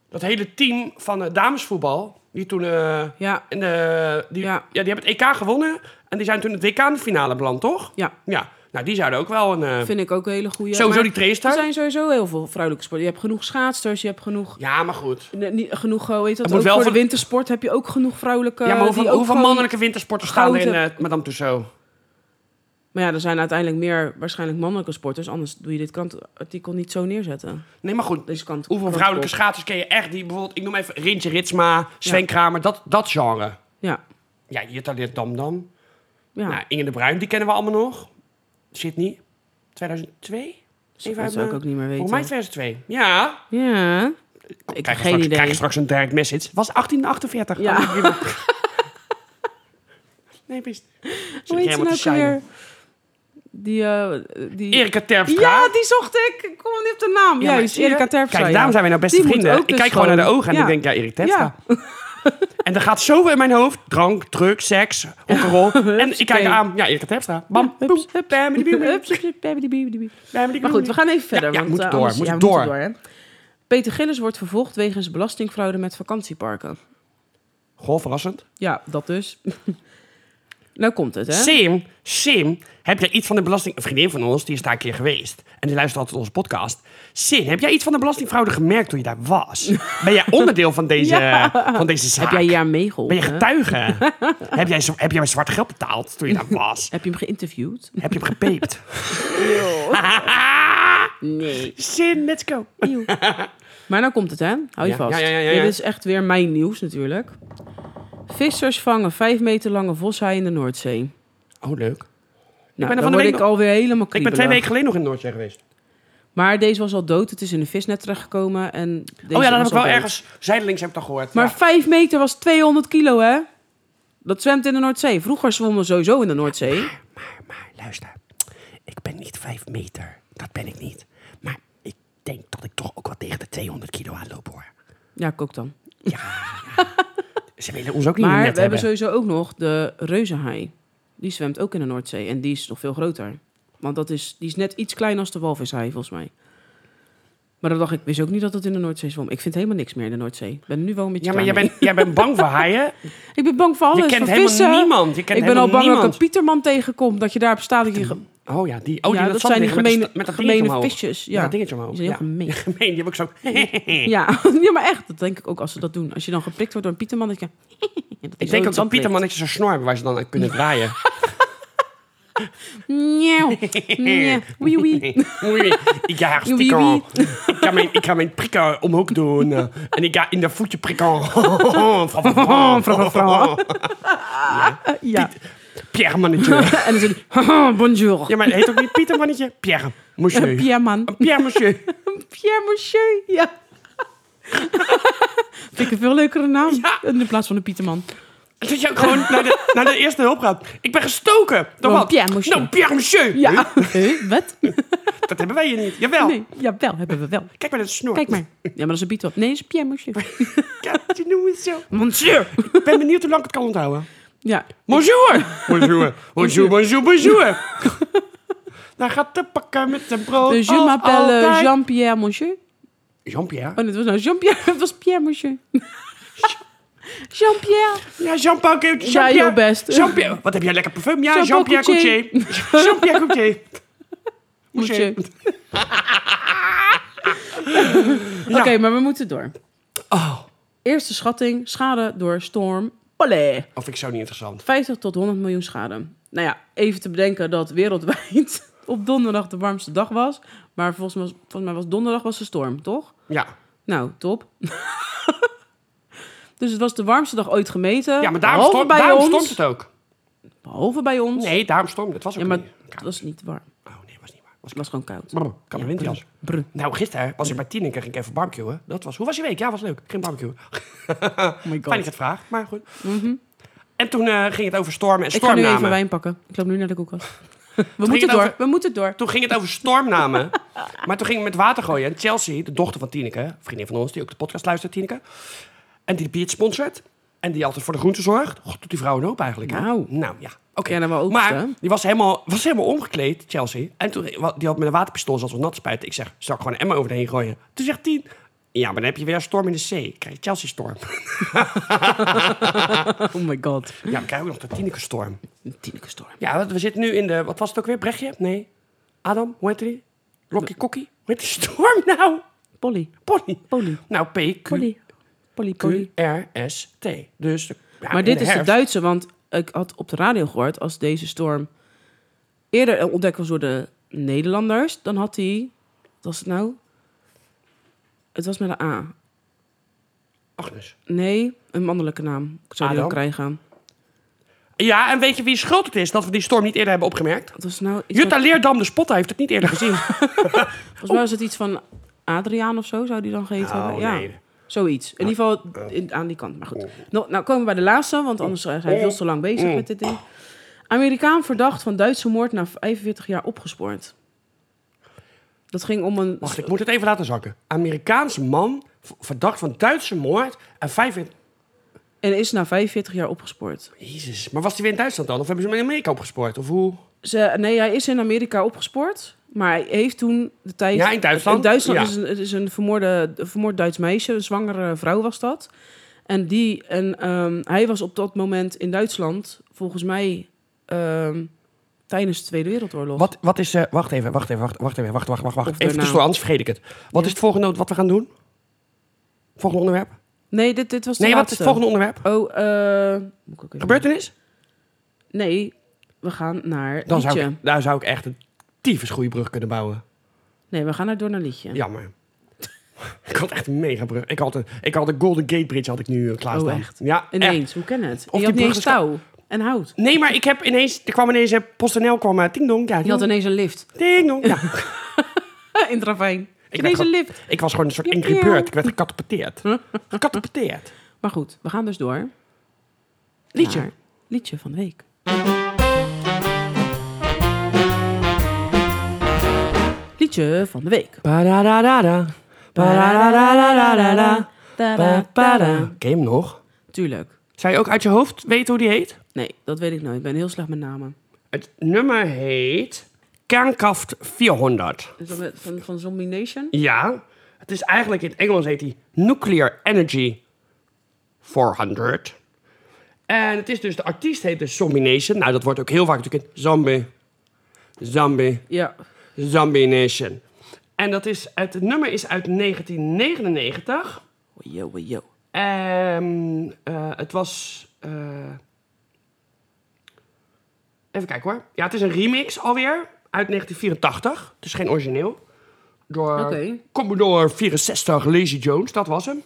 Speaker 2: dat hele team van eh, damesvoetbal, die toen. eh,
Speaker 1: Ja,
Speaker 2: in de, die, ja.
Speaker 1: Ja.
Speaker 2: die hebben het EK gewonnen en die zijn toen het WK in de finale beland, toch?
Speaker 1: ja
Speaker 2: Ja, nou die zouden ook wel een. eh,
Speaker 1: vind ik ook een hele goede.
Speaker 2: sowieso die trainster.
Speaker 1: Er zijn sowieso heel veel vrouwelijke sporten. Je hebt genoeg schaatsters, je hebt genoeg...
Speaker 2: Ja, maar goed.
Speaker 1: Nee, niet- genoeg, eh, hoe heet dat?
Speaker 2: moet
Speaker 1: Ook
Speaker 2: wel
Speaker 1: voor de
Speaker 2: van-
Speaker 1: wintersport heb je ook genoeg vrouwelijke...
Speaker 2: ja, maar hoeveel,
Speaker 1: die ook
Speaker 2: hoeveel
Speaker 1: gewoon-
Speaker 2: mannelijke wintersporters staan er in
Speaker 1: gouden-
Speaker 2: eh Madame Tussauds?
Speaker 1: Maar ja, er zijn uiteindelijk meer waarschijnlijk mannelijke sporters. Anders doe je dit krantartikel niet zo neerzetten.
Speaker 2: Nee, maar goed.
Speaker 1: Deze kant.
Speaker 2: Hoeveel vrouwelijke schaatsers ken je echt? Die bijvoorbeeld, ik noem even Rintje Ritsma, Sven
Speaker 1: Ja.
Speaker 2: Kramer, dat, dat genre.
Speaker 1: Ja,
Speaker 2: Ja, Jutta Leert Dam Dam.
Speaker 1: ja.
Speaker 2: Nou, Inge de Bruin, die kennen we allemaal nog. Sydney, 2002? Even
Speaker 1: dat
Speaker 2: uit
Speaker 1: zou ik
Speaker 2: mijn-
Speaker 1: ook niet meer
Speaker 2: Volgens mij
Speaker 1: weten.
Speaker 2: 2002. Ja.
Speaker 1: Ja. Ik heb
Speaker 2: Krijg
Speaker 1: geen
Speaker 2: je straks,
Speaker 1: idee.
Speaker 2: krijg je straks een direct message. Was 1848.
Speaker 1: Ja.
Speaker 2: Oh, nee, prima. nee, best.
Speaker 1: Hoe heet ze nou weer? Die, eh die...
Speaker 2: Erika Terpstra.
Speaker 1: Ja, die zocht ik. Ik kom niet op de naam.
Speaker 2: Ja, maar
Speaker 1: Juist,
Speaker 2: zie je?
Speaker 1: Erika Terpstra.
Speaker 2: Kijk, daarom zijn wij nou beste
Speaker 1: Die moet
Speaker 2: vrienden.
Speaker 1: ook
Speaker 2: Ik
Speaker 1: dus
Speaker 2: kijk gewoon naar de
Speaker 1: gewoon-
Speaker 2: ogen en
Speaker 1: Ja.
Speaker 2: ik denk, ja, Erik Terpstra.
Speaker 1: Ja.
Speaker 2: En er gaat zoveel in mijn hoofd. Drank, drugs, seks, rock'n'roll. en ik kijk
Speaker 1: Hupsakee.
Speaker 2: haar aan. Ja, Erika Terpstra. Bam,
Speaker 1: Ja,
Speaker 2: boem,
Speaker 1: hups, hups,
Speaker 2: bam, die, bam, die,
Speaker 1: Hups, hups, hups, babidi, babidi, babidi.
Speaker 2: bam, die,
Speaker 1: Maar goed, we gaan even verder.
Speaker 2: ja,
Speaker 1: want,
Speaker 2: moet
Speaker 1: eh,
Speaker 2: door,
Speaker 1: anders-
Speaker 2: moet
Speaker 1: ja, we
Speaker 2: door.
Speaker 1: moeten hè. Peter Gillis wordt vervolgd wegens belastingfraude met vakantieparken.
Speaker 2: Goh, verrassend.
Speaker 1: Ja, dat dus. nou komt het, hè?
Speaker 2: Sim, Sim, heb jij iets van de belasting... Een vriendin van ons, die is daar een keer geweest. En die luistert altijd onze podcast. Sim, heb jij iets van de belastingfraude gemerkt toen je daar was? Ben jij onderdeel van deze, van deze zaak?
Speaker 1: Heb jij hier aan
Speaker 2: ben je
Speaker 1: meegeholpen?
Speaker 2: getuige? heb, jij, zo- heb jij zwart geld betaald toen je daar was?
Speaker 1: Heb je hem geïnterviewd?
Speaker 2: heb je hem gepeept?
Speaker 1: Nee.
Speaker 2: Sim, let's go.
Speaker 1: Eeuw. maar nou komt het, hè? Hou je
Speaker 2: Ja.
Speaker 1: vast.
Speaker 2: Ja, ja, ja, ja, ja.
Speaker 1: Dit is echt weer mijn nieuws natuurlijk. Vissers vangen vijf meter lange voshaai in de Noordzee.
Speaker 2: Oh, leuk.
Speaker 1: Nou,
Speaker 2: ben er
Speaker 1: dan
Speaker 2: van de
Speaker 1: word
Speaker 2: week
Speaker 1: ik
Speaker 2: nog-
Speaker 1: alweer helemaal
Speaker 2: Ik ben
Speaker 1: kriebelig.
Speaker 2: twee weken geleden nog in Noordzee geweest.
Speaker 1: Maar deze was al dood. Het is in een visnet terechtgekomen. En deze
Speaker 2: oh ja, dat
Speaker 1: was
Speaker 2: heb ik wel
Speaker 1: al dood.
Speaker 2: ergens... Zijdelings heb ik dat gehoord.
Speaker 1: Maar
Speaker 2: ja.
Speaker 1: vijf meter was 200 kilo, hè? Dat zwemt in de Noordzee. Vroeger zwommen we sowieso in de Noordzee.
Speaker 2: Maar luister, ik ben niet vijf meter. Dat ben ik niet. Maar ik denk dat ik toch ook wel tegen de 200 kilo aanloop hoor.
Speaker 1: Ja, ik ook dan.
Speaker 2: Ze willen ons ook niet
Speaker 1: Maar we
Speaker 2: meer net
Speaker 1: hebben,
Speaker 2: hebben.
Speaker 1: sowieso ook nog de reuzenhaai. Die zwemt ook in de Noordzee en die is nog veel groter. Want dat is, die is net iets kleiner als de walvishaai, volgens mij. Maar dan dacht ik, wist ook niet dat het in de Noordzee zwom. Ik vind helemaal niks meer in de Noordzee. Ik ben nu wel een beetje
Speaker 2: Ja, maar jij
Speaker 1: klaar
Speaker 2: bent, jij bent bang voor haaien.
Speaker 1: mee. Ik ben bang voor alles.
Speaker 2: je kent
Speaker 1: voor
Speaker 2: helemaal
Speaker 1: vissen.
Speaker 2: niemand. Je kent
Speaker 1: ik ben al
Speaker 2: helemaal
Speaker 1: bang dat ik
Speaker 2: niemand.
Speaker 1: een Pieterman tegenkom. Dat je daar op staat. Dat je ge-
Speaker 2: Oh ja, die, oh,
Speaker 1: Ja,
Speaker 2: die
Speaker 1: dat zijn die
Speaker 2: zand liggen
Speaker 1: gemene-
Speaker 2: met dat
Speaker 1: gemene
Speaker 2: dingetje omhoog.
Speaker 1: visjes, ja.
Speaker 2: Met dat dingetje omhoog.
Speaker 1: Die zijn heel gemeen.
Speaker 2: gemeen. Die heb ik zo...
Speaker 1: ja. ja, maar echt. Dat denk ik ook als ze dat doen. Als je dan geprikt wordt door een Pieterman. Dat je... dat die zo in
Speaker 2: Ik
Speaker 1: het
Speaker 2: denk dat
Speaker 1: zand
Speaker 2: zo'n
Speaker 1: ligt.
Speaker 2: Pietermannetje zo'n snor hebben waar ze dan aan kunnen draaien.
Speaker 1: Nieuw. Nieuw. Wee, wee.
Speaker 2: Oei, ik ga haar
Speaker 1: Oei,
Speaker 2: stikken.
Speaker 1: oei.
Speaker 2: Ik ga mijn, ik ga mijn prikken omhoog doen. eh, En ik ga in de voetje prikken. Fra, fra,
Speaker 1: Oh,
Speaker 2: fra, fra, fra.
Speaker 1: Ja.
Speaker 2: Pierre mannetje.
Speaker 1: en dan zo die, haha, bonjour.
Speaker 2: Ja, maar het heet ook niet Pieter mannetje. Pierre monsieur. Pierre,
Speaker 1: Eh, Pierre man.
Speaker 2: monsieur.
Speaker 1: Pierre Monsieur, ja. Vind ik een veel leukere naam.
Speaker 2: Ja.
Speaker 1: In plaats van de Pieterman.
Speaker 2: Dat je ook gewoon naar de, naar de eerste hulp gaat. Ik ben gestoken. Dan
Speaker 1: Oh,
Speaker 2: wat?
Speaker 1: Pierre monsieur.
Speaker 2: Nou, Pierre monsieur.
Speaker 1: Ja. Eh, Wat?
Speaker 2: Dat hebben wij hier niet. Jawel.
Speaker 1: Nee, jawel, hebben we wel.
Speaker 2: Kijk maar dat snor.
Speaker 1: Kijk maar. Ja, maar dat is een Pieter. Nee, dat is Pierre Monsieur.
Speaker 2: Kijk, die noemen het zo.
Speaker 1: Monsieur.
Speaker 2: Ik ben benieuwd hoe lang ik het kan onthouden.
Speaker 1: Ja.
Speaker 2: Bonjour. Bonjour. Bonjour, bonjour, bonjour. Daar gaat de pakken met zijn brood.
Speaker 1: Dus je
Speaker 2: als
Speaker 1: m'appelle
Speaker 2: altijd.
Speaker 1: Jean-Pierre Monsieur.
Speaker 2: Jean-Pierre?
Speaker 1: Oh, nee, het was nou Jean-Pierre. Het was Pierre Monsieur. Jean-Pierre.
Speaker 2: Ja, Jean-Paul Gaultier.
Speaker 1: Ja,
Speaker 2: Jean-Pierre.
Speaker 1: heel best.
Speaker 2: Jean-Pierre. Wat heb jij lekker parfum? Ja,
Speaker 1: Jean-Paul
Speaker 2: Jean-Pierre Gaultier. Jean-Pierre Gaultier.
Speaker 1: Monsieur.
Speaker 2: Monsieur.
Speaker 1: Oké, maar we moeten door.
Speaker 2: Oh,
Speaker 1: Eerste schatting. Schade door storm. Palais.
Speaker 2: of ik zo niet interessant.
Speaker 1: 50 tot 100 miljoen schade. Nou ja, even te bedenken dat wereldwijd op donderdag de warmste dag was. Maar volgens mij, was- volgens mij was donderdag was de storm, toch?
Speaker 2: Ja.
Speaker 1: Nou, top. dus het was de warmste dag ooit gemeten.
Speaker 2: Ja, maar daarom,
Speaker 1: Behalve
Speaker 2: storm,
Speaker 1: bij
Speaker 2: daarom
Speaker 1: ons.
Speaker 2: stormt het ook.
Speaker 1: Behalve bij ons.
Speaker 2: Nee, daarom stormt het. was ook
Speaker 1: Ja, maar
Speaker 2: niet.
Speaker 1: het was niet warm.
Speaker 2: Oh nee, was niet waar. Was
Speaker 1: Het was gewoon koud.
Speaker 2: Brr, kan mijn windjas.
Speaker 1: Brr.
Speaker 2: Nou, gisteren was ik bij Tineke, ging ik even barbecuen. Dat was... Hoe was je week? Ja, was leuk. Geen barbecue.
Speaker 1: Oh my
Speaker 2: Fijn dat
Speaker 1: god.
Speaker 2: je het vraagt, maar goed. En toen eh, ging het over stormen en
Speaker 1: Mhm. Ik ga nu even
Speaker 2: stormnamen.
Speaker 1: wijn pakken. Ik loop nu naar de koelkast. We moeten
Speaker 2: het
Speaker 1: door.
Speaker 2: over-
Speaker 1: We moeten door.
Speaker 2: Toen ging het over stormnamen. maar toen ging het met water gooien. En Chelsea, de dochter van Tineke, vriendin van ons, die ook de podcast luistert, Tineke. En die Piet sponsort. En die altijd voor de groente zorgt. Och, doet die vrouw een hoop eigenlijk. hè?
Speaker 1: Nou.
Speaker 2: Nou, ja. Oké.
Speaker 1: Ja, nou, wel ook, hè?
Speaker 2: maar die was helemaal, was helemaal omgekleed, Chelsea. En toen, die had met een waterpistool, zat als nat spuiten. Ik zeg, zal ik gewoon een emmer over de heen gooien? Toen zegt Tien, ja, maar dan heb je weer een storm in de zee. Krijg je Chelsea-storm.
Speaker 1: Oh my god.
Speaker 2: ja, dan krijg je ook nog de Tineke-storm.
Speaker 1: Een tieneke storm.
Speaker 2: Ja, want we zitten nu in de... Wat was het ook weer? Brechtje? Nee. Adam? Hoe heet die? Rocky Kokkie? Hoe heet die storm nou?
Speaker 1: Polly.
Speaker 2: Polly.
Speaker 1: Polly.
Speaker 2: Nou, P, Q,
Speaker 1: Polly. Polly. Polly.
Speaker 2: Q, R, S, T. Dus de- ja,
Speaker 1: maar
Speaker 2: in
Speaker 1: dit is de
Speaker 2: herfst-
Speaker 1: Duitse, want ik had op de radio gehoord... als deze storm eerder ontdekt was door de Nederlanders... dan had hij... Wat was het nou? Het was met een A.
Speaker 2: Agnes.
Speaker 1: Nee, een mannelijke naam. Ik zou die wel
Speaker 2: Adam?
Speaker 1: krijgen.
Speaker 2: Ja, en weet je wie schuld het is dat we die storm niet eerder hebben opgemerkt?
Speaker 1: Wat was het nou? Iets
Speaker 2: Jutta
Speaker 1: met-
Speaker 2: Leerdam, de spotter, heeft het niet eerder gezien.
Speaker 1: volgens mij was het iets van Adriaan of zo, zou die dan geheten
Speaker 2: Oh,
Speaker 1: hebben? Ja,
Speaker 2: nee.
Speaker 1: zoiets. In ieder geval in- aan die kant. Maar goed. Nou, nou komen we bij de laatste, want anders eh, zijn we veel te lang bezig met dit ding. Amerikaan verdacht van Duitse moord na 45 jaar opgespoord. Dat ging om een...
Speaker 2: Wacht, ik moet het even laten zakken. Dus Amerikaanse man, v- verdacht van Duitse moord en vijf... in-
Speaker 1: En is na 45 jaar opgespoord.
Speaker 2: Jezus, maar was die weer in Duitsland dan? Of hebben ze hem in Amerika opgespoord? Of hoe?
Speaker 1: Ze, nee, hij is in Amerika opgespoord. Maar hij heeft toen de tijd...
Speaker 2: Ja, in Duitsland?
Speaker 1: In Duitsland
Speaker 2: Ja.
Speaker 1: is een, het is een vermoorde, een vermoord Duits meisje. Een zwangere vrouw was dat. En, die, en ehm, hij was op dat moment in Duitsland... volgens mij ehm, tijdens de Tweede Wereldoorlog.
Speaker 2: Wat, wat is... eh, wacht even, wacht even, wacht, wacht even, wacht, wacht, wacht. wacht.
Speaker 1: Of
Speaker 2: Even
Speaker 1: daarna.
Speaker 2: tussendoor, anders vergeet ik het. Wat is het volgende wat we gaan doen? Volgende onderwerp?
Speaker 1: Nee, dit, dit was de
Speaker 2: Nee, wat is
Speaker 1: laatste.
Speaker 2: het volgende onderwerp?
Speaker 1: Oh, eh, moet ik ook even-
Speaker 2: Gebeurtenis?
Speaker 1: Nee, we gaan naar
Speaker 2: Dan zou
Speaker 1: liedje.
Speaker 2: ik, daar zou ik echt een tyfus goede brug kunnen bouwen.
Speaker 1: Nee, we gaan naar door naar liedje.
Speaker 2: Jammer. ik had echt een mega brug. Ik had, een, ik had de Golden Gate Bridge had ik nu eh, klaarstaan.
Speaker 1: Oh, echt?
Speaker 2: Ja, echt.
Speaker 1: Ineens, hoe ken het?
Speaker 2: die
Speaker 1: je had niet
Speaker 2: brug
Speaker 1: eens
Speaker 2: is ka-
Speaker 1: touw en hout.
Speaker 2: Nee, maar ik heb ineens... Er kwam ineens... eh, PostNL kwam... eh, ting dong. Ja,
Speaker 1: Je had ineens een lift.
Speaker 2: Ding dong. Ja. Eh,
Speaker 1: In Travijn.
Speaker 2: Ik
Speaker 1: Ineens
Speaker 2: ben
Speaker 1: een lift.
Speaker 2: ik was gewoon een soort
Speaker 1: Piep,
Speaker 2: Angry
Speaker 1: piep.
Speaker 2: Bird. Ik werd gecatapulteerd. Gecatapulteerd.
Speaker 1: Maar goed, we gaan dus door.
Speaker 2: Liedje.
Speaker 1: naar Liedje van de week. Nieuwtje van de week.
Speaker 2: Padadadada. Padadadadadada. Papada.
Speaker 1: Ba-da-da-da.
Speaker 2: Ken je hem nog?
Speaker 1: Tuurlijk.
Speaker 2: Zou je ook uit je hoofd weten hoe die heet?
Speaker 1: Nee, dat weet ik nooit. Ik ben heel slecht met namen.
Speaker 2: Het nummer heet Kernkraft 400.
Speaker 1: Is dat met- van, van Zombie Nation?
Speaker 2: Ja, het is eigenlijk in het Engels heet die Nuclear Energy 400. En het is dus, de artiest heet dus Zombie Nation. Nou, dat wordt ook heel vaak natuurlijk in Zombie, Zombie,
Speaker 1: Ja.
Speaker 2: Zombie Nation. En dat is, uit, het nummer is uit 1999.
Speaker 1: Yo, yo.
Speaker 2: Ehm eh, het was. eh, even kijken hoor. Ja, het is een remix alweer uit 1984. Dus geen origineel. Door
Speaker 1: Oké.
Speaker 2: Commodore 64 Lazy Jones, dat was hem.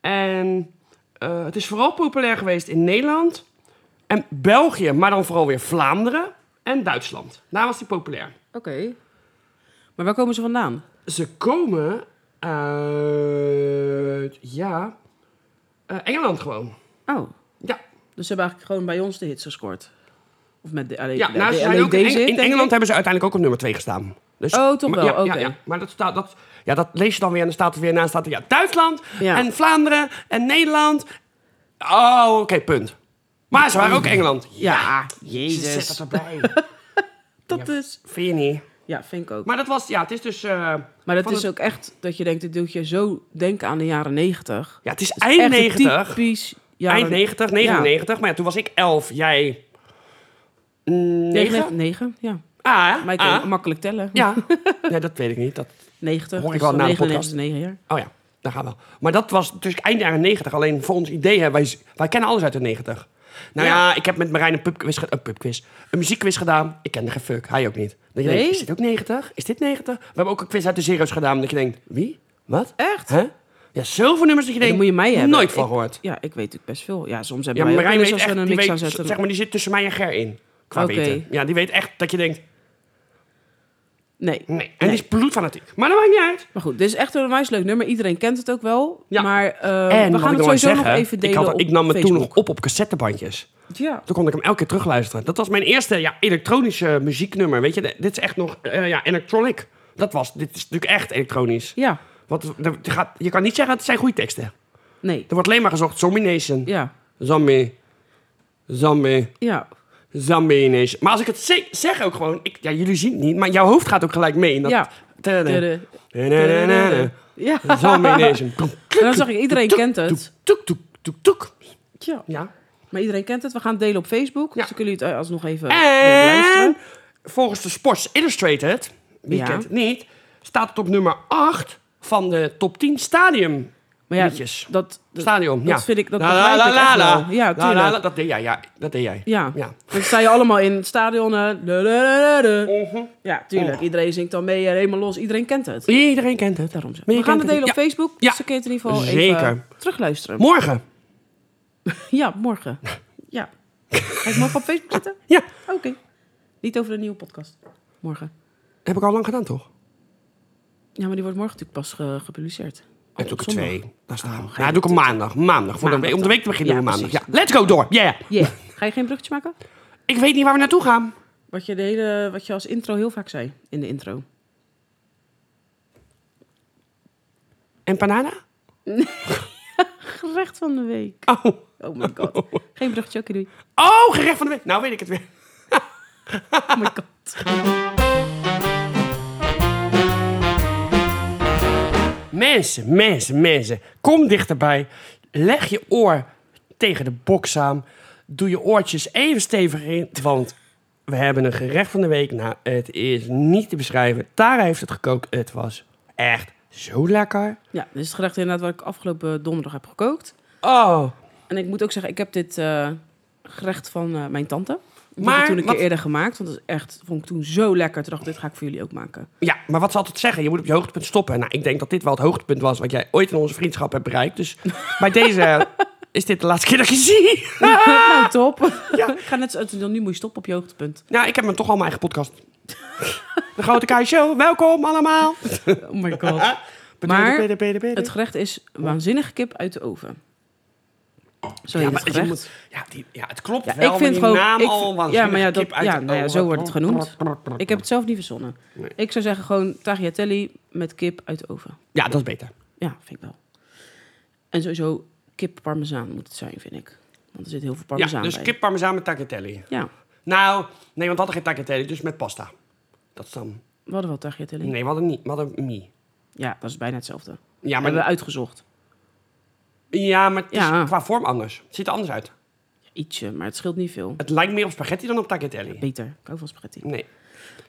Speaker 2: En eh, het is vooral populair geweest in Nederland en België, maar dan vooral weer Vlaanderen en Duitsland. Daar was hij populair.
Speaker 1: Oké. Maar waar komen ze vandaan?
Speaker 2: Ze komen uit. Ja. eh, Engeland gewoon.
Speaker 1: Oh.
Speaker 2: Ja,
Speaker 1: Dus ze hebben eigenlijk gewoon bij ons de hits gescoord. Of met de, alleen,
Speaker 2: Ja,
Speaker 1: de-
Speaker 2: nou,
Speaker 1: de- E
Speaker 2: ze zijn
Speaker 1: alleen
Speaker 2: ook in,
Speaker 1: deze hit,
Speaker 2: in
Speaker 1: denk
Speaker 2: Engeland
Speaker 1: ik.
Speaker 2: hebben ze uiteindelijk ook op nummer 2 gestaan. Dus,
Speaker 1: Oh, toch
Speaker 2: maar-
Speaker 1: wel,
Speaker 2: Ja,
Speaker 1: oké.
Speaker 2: ja, ja. Maar dat, staat, dat, ja, dat lees je dan weer en dan staat er weer na staat er, ja, Duitsland
Speaker 1: Ja.
Speaker 2: en Vlaanderen en Nederland. Oh, oké, punt. Maar ze waren ook Engeland.
Speaker 1: Ja,
Speaker 2: Ze
Speaker 1: jezus.
Speaker 2: zetten
Speaker 1: dat
Speaker 2: dat erbij.
Speaker 1: is...
Speaker 2: Vind je niet?
Speaker 1: Ja, vind ik ook. Maar,
Speaker 2: Maar dat was, ja, het is dus... eh,
Speaker 1: dat
Speaker 2: van
Speaker 1: is
Speaker 2: het-
Speaker 1: ook echt dat je denkt, dit doet je zo denken aan de jaren negentig.
Speaker 2: Ja, het is
Speaker 1: Het is
Speaker 2: eind
Speaker 1: echt een
Speaker 2: 90.
Speaker 1: Typisch jaren...
Speaker 2: Eind 90, 99. Maar ja, toen was ik 11, jij... 9?
Speaker 1: 99, negen, ja.
Speaker 2: Ah,
Speaker 1: Maar ik
Speaker 2: ah.
Speaker 1: kan makkelijk tellen.
Speaker 2: Ja. nee, dat weet ik niet. Dat,
Speaker 1: 90.
Speaker 2: Hoor ik
Speaker 1: dus
Speaker 2: wel
Speaker 1: dan
Speaker 2: na de
Speaker 1: 99
Speaker 2: podcast.
Speaker 1: is negen jaar.
Speaker 2: Oh ja, daar gaan we. Maar dat was natuurlijk eind jaren 90. Alleen voor ons idee, hè, wij, wij kennen alles uit de 90. Nou ja,
Speaker 1: Ja.
Speaker 2: ik heb met Marijn een pubquiz, ge- een pubquiz, een muziekquiz gedaan. Ik kende geen fuck, hij ook niet. Dat je
Speaker 1: Nee?
Speaker 2: denkt, is dit ook 90? Is dit 90? We hebben ook een quiz uit de zero's gedaan. Dat je denkt, wie? Wat?
Speaker 1: Echt?
Speaker 2: Hè? Ja, zoveel nummers dat je denkt,
Speaker 1: dan moet je mij hebben.
Speaker 2: nooit van
Speaker 1: Ik-
Speaker 2: gehoord.
Speaker 1: Ja, ik weet natuurlijk best veel. Ja, soms hebben
Speaker 2: Ja, maar
Speaker 1: wij ook
Speaker 2: Marijn
Speaker 1: wel eens
Speaker 2: weet
Speaker 1: als we een
Speaker 2: echt, die
Speaker 1: mix aan
Speaker 2: weet,
Speaker 1: zetten.
Speaker 2: zeg maar, die zit tussen mij en Ger in. Qua
Speaker 1: Oké.
Speaker 2: weten. Ja, die weet echt dat je denkt,
Speaker 1: Nee.
Speaker 2: nee. En die is bloedfanatiek. Maar dat maakt niet uit.
Speaker 1: Maar goed, dit is echt een onwijs leuk nummer. Iedereen kent het ook wel.
Speaker 2: Ja.
Speaker 1: Maar eh,
Speaker 2: en
Speaker 1: we
Speaker 2: mag
Speaker 1: gaan het
Speaker 2: ik wel
Speaker 1: sowieso
Speaker 2: zeggen,
Speaker 1: nog even delen
Speaker 2: ik, had,
Speaker 1: op
Speaker 2: ik nam het toen
Speaker 1: Facebook.
Speaker 2: nog op op cassettebandjes.
Speaker 1: Ja.
Speaker 2: Toen kon ik hem elke keer terugluisteren. Dat was mijn eerste ja, elektronische muzieknummer. Weet je, De- dit is echt nog eh, ja, electronic. Dat was, dit is natuurlijk echt elektronisch.
Speaker 1: Ja.
Speaker 2: Want er gaat, je kan niet zeggen, het zijn goede teksten. Er
Speaker 1: Nee.
Speaker 2: wordt alleen maar gezocht, Zombie Nation,
Speaker 1: Ja.
Speaker 2: Zombie, Zombie,
Speaker 1: Ja.
Speaker 2: Zombie Nation. Maar als ik het ze- zeg ook gewoon, ik, ja, jullie zien het niet, maar jouw hoofd gaat ook gelijk mee. in Dat,
Speaker 1: Ja.
Speaker 2: Tadada.
Speaker 1: Tudu.
Speaker 2: Tadada.
Speaker 1: Tudu. Ja.
Speaker 2: Zombie Nation.
Speaker 1: En dan zag ik, iedereen kent het.
Speaker 2: Toek, toek, toek, toek.
Speaker 1: Ja.
Speaker 2: Ja.
Speaker 1: Maar iedereen kent het. We gaan het delen op Facebook.
Speaker 2: Ja.
Speaker 1: Dus dan kunnen jullie het eh, alsnog even
Speaker 2: En
Speaker 1: luisteren.
Speaker 2: volgens de Sports Illustrated, wie
Speaker 1: Ja.
Speaker 2: kent het niet, staat het op nummer 8 van de top 10 stadium
Speaker 1: Maar ja,
Speaker 2: liedjes.
Speaker 1: dat, dat,
Speaker 2: Stadion, ja.
Speaker 1: vind ik- dat
Speaker 2: La,
Speaker 1: begrijp
Speaker 2: la,
Speaker 1: ik
Speaker 2: la,
Speaker 1: echt
Speaker 2: la.
Speaker 1: wel. Ja,
Speaker 2: La, la,
Speaker 1: tuurlijk.
Speaker 2: la, dat deed jij, ja. Dat deed jij.
Speaker 1: Ja.
Speaker 2: Ja.
Speaker 1: Dan sta je allemaal in het stadion. eh, du- du- du- du- du.
Speaker 2: Mhm.
Speaker 1: Ja,
Speaker 2: Oh.
Speaker 1: tuurlijk. Iedereen zingt dan mee. eh, Helemaal los. Iedereen kent het.
Speaker 2: Iedereen kent het.
Speaker 1: Daarom zo.
Speaker 2: Maar je
Speaker 1: We gaan het
Speaker 2: kent
Speaker 1: delen op
Speaker 2: Ja.
Speaker 1: Facebook.
Speaker 2: Ja.
Speaker 1: Dus dan kun je het in ieder geval
Speaker 2: Zeker.
Speaker 1: even terugluisteren.
Speaker 2: Morgen.
Speaker 1: ja, morgen. Ja. Ga ik morgen op Facebook zetten?
Speaker 2: Ja,
Speaker 1: Oké. Niet over de nieuwe podcast. Morgen.
Speaker 2: heb ik al lang gedaan, toch?
Speaker 1: Oh, Ja, maar die wordt morgen natuurlijk pas eh, gepubliceerd.
Speaker 2: Ik doe ik er
Speaker 1: zondag. Oh,
Speaker 2: twee. Daar staan we. Ja, doe ik hem maandag. Maandag. Voor de
Speaker 1: Maandag
Speaker 2: week- om de
Speaker 1: dan.
Speaker 2: week te beginnen
Speaker 1: Ja,
Speaker 2: doen we maandag. Ja.
Speaker 1: precies.
Speaker 2: Let's go door. Yeah.
Speaker 1: Yeah. Ga je geen bruggetje maken?
Speaker 2: Ik weet niet waar we naartoe gaan.
Speaker 1: Wat je, de hele, wat je als intro heel vaak zei in de intro.
Speaker 2: En banana?
Speaker 1: Gerecht van de week.
Speaker 2: Oh.
Speaker 1: Oh my god. Geen bruggetje, oké doei.
Speaker 2: Oh, gerecht van de week. Nou weet ik het weer.
Speaker 1: Oh my god.
Speaker 2: Mensen, mensen, mensen, kom dichterbij. Leg je oor tegen de box aan. Doe je oortjes even stevig in, want we hebben een gerecht van de week. Nou, het is niet te beschrijven. Tara heeft het gekookt. Het was echt zo lekker.
Speaker 1: Ja, dit is het gerecht inderdaad wat ik afgelopen donderdag heb gekookt.
Speaker 2: Oh,
Speaker 1: En ik moet ook zeggen, ik heb dit eh, gerecht van eh, mijn tante. Ik
Speaker 2: Maar
Speaker 1: heb het toen een keer
Speaker 2: wat-
Speaker 1: eerder gemaakt. Want dat is echt, vond ik toen zo lekker. Toen dacht ik, dit ga ik voor jullie ook maken.
Speaker 2: ja, maar wat ze altijd zeggen, je moet op je hoogtepunt stoppen. Nou, ik denk dat dit wel het hoogtepunt was wat jij ooit in onze vriendschap hebt bereikt. Dus bij deze is dit de laatste keer dat ik je zie.
Speaker 1: nou, top.
Speaker 2: Ja.
Speaker 1: ik ga net zo, dan nu moet je stoppen op je hoogtepunt.
Speaker 2: Nou, ik heb me toch al mijn eigen podcast. De Grote Kai Show, welkom allemaal.
Speaker 1: Oh my god. Maar het gerecht is waanzinnige kip uit de oven. Zo heet
Speaker 2: ja, maar
Speaker 1: het
Speaker 2: je
Speaker 1: gerecht.
Speaker 2: moet- ja, die, ja, het klopt
Speaker 1: Ja,
Speaker 2: wel,
Speaker 1: ik
Speaker 2: maar
Speaker 1: vind
Speaker 2: die
Speaker 1: gewoon.
Speaker 2: naam
Speaker 1: ik,
Speaker 2: al
Speaker 1: ja,
Speaker 2: waanzinnig
Speaker 1: maar ja, dat-
Speaker 2: kip uit
Speaker 1: ja,
Speaker 2: het
Speaker 1: nou ja,
Speaker 2: oven.
Speaker 1: zo wordt het genoemd. Ik heb het zelf niet verzonnen. Ik zou zeggen gewoon tagliatelle met kip uit de oven.
Speaker 2: Ja, dat is beter.
Speaker 1: Ja, vind ik wel. En sowieso kip parmezaan moet het zijn, vind ik. Want er zit heel veel
Speaker 2: ja,
Speaker 1: parmezaan
Speaker 2: dus
Speaker 1: bij.
Speaker 2: kip parmezaan met tagliatelle.
Speaker 1: Ja,
Speaker 2: Nou, nee, want we hadden geen tagliatelle, dus met pasta. Dat is dan...
Speaker 1: we hadden wel tagliatelle.
Speaker 2: Nee, we hadden niet. We hadden mie.
Speaker 1: Ja, dat is bijna hetzelfde.
Speaker 2: Ja,
Speaker 1: Hebben we
Speaker 2: maar,
Speaker 1: uitgezocht.
Speaker 2: ja, maar het is
Speaker 1: Ja.
Speaker 2: qua vorm anders. Het ziet er anders uit.
Speaker 1: Ietsje, maar het scheelt niet veel.
Speaker 2: Het lijkt meer op spaghetti dan op tagliatelle.
Speaker 1: Beter. Ik hou van spaghetti.
Speaker 2: Nee.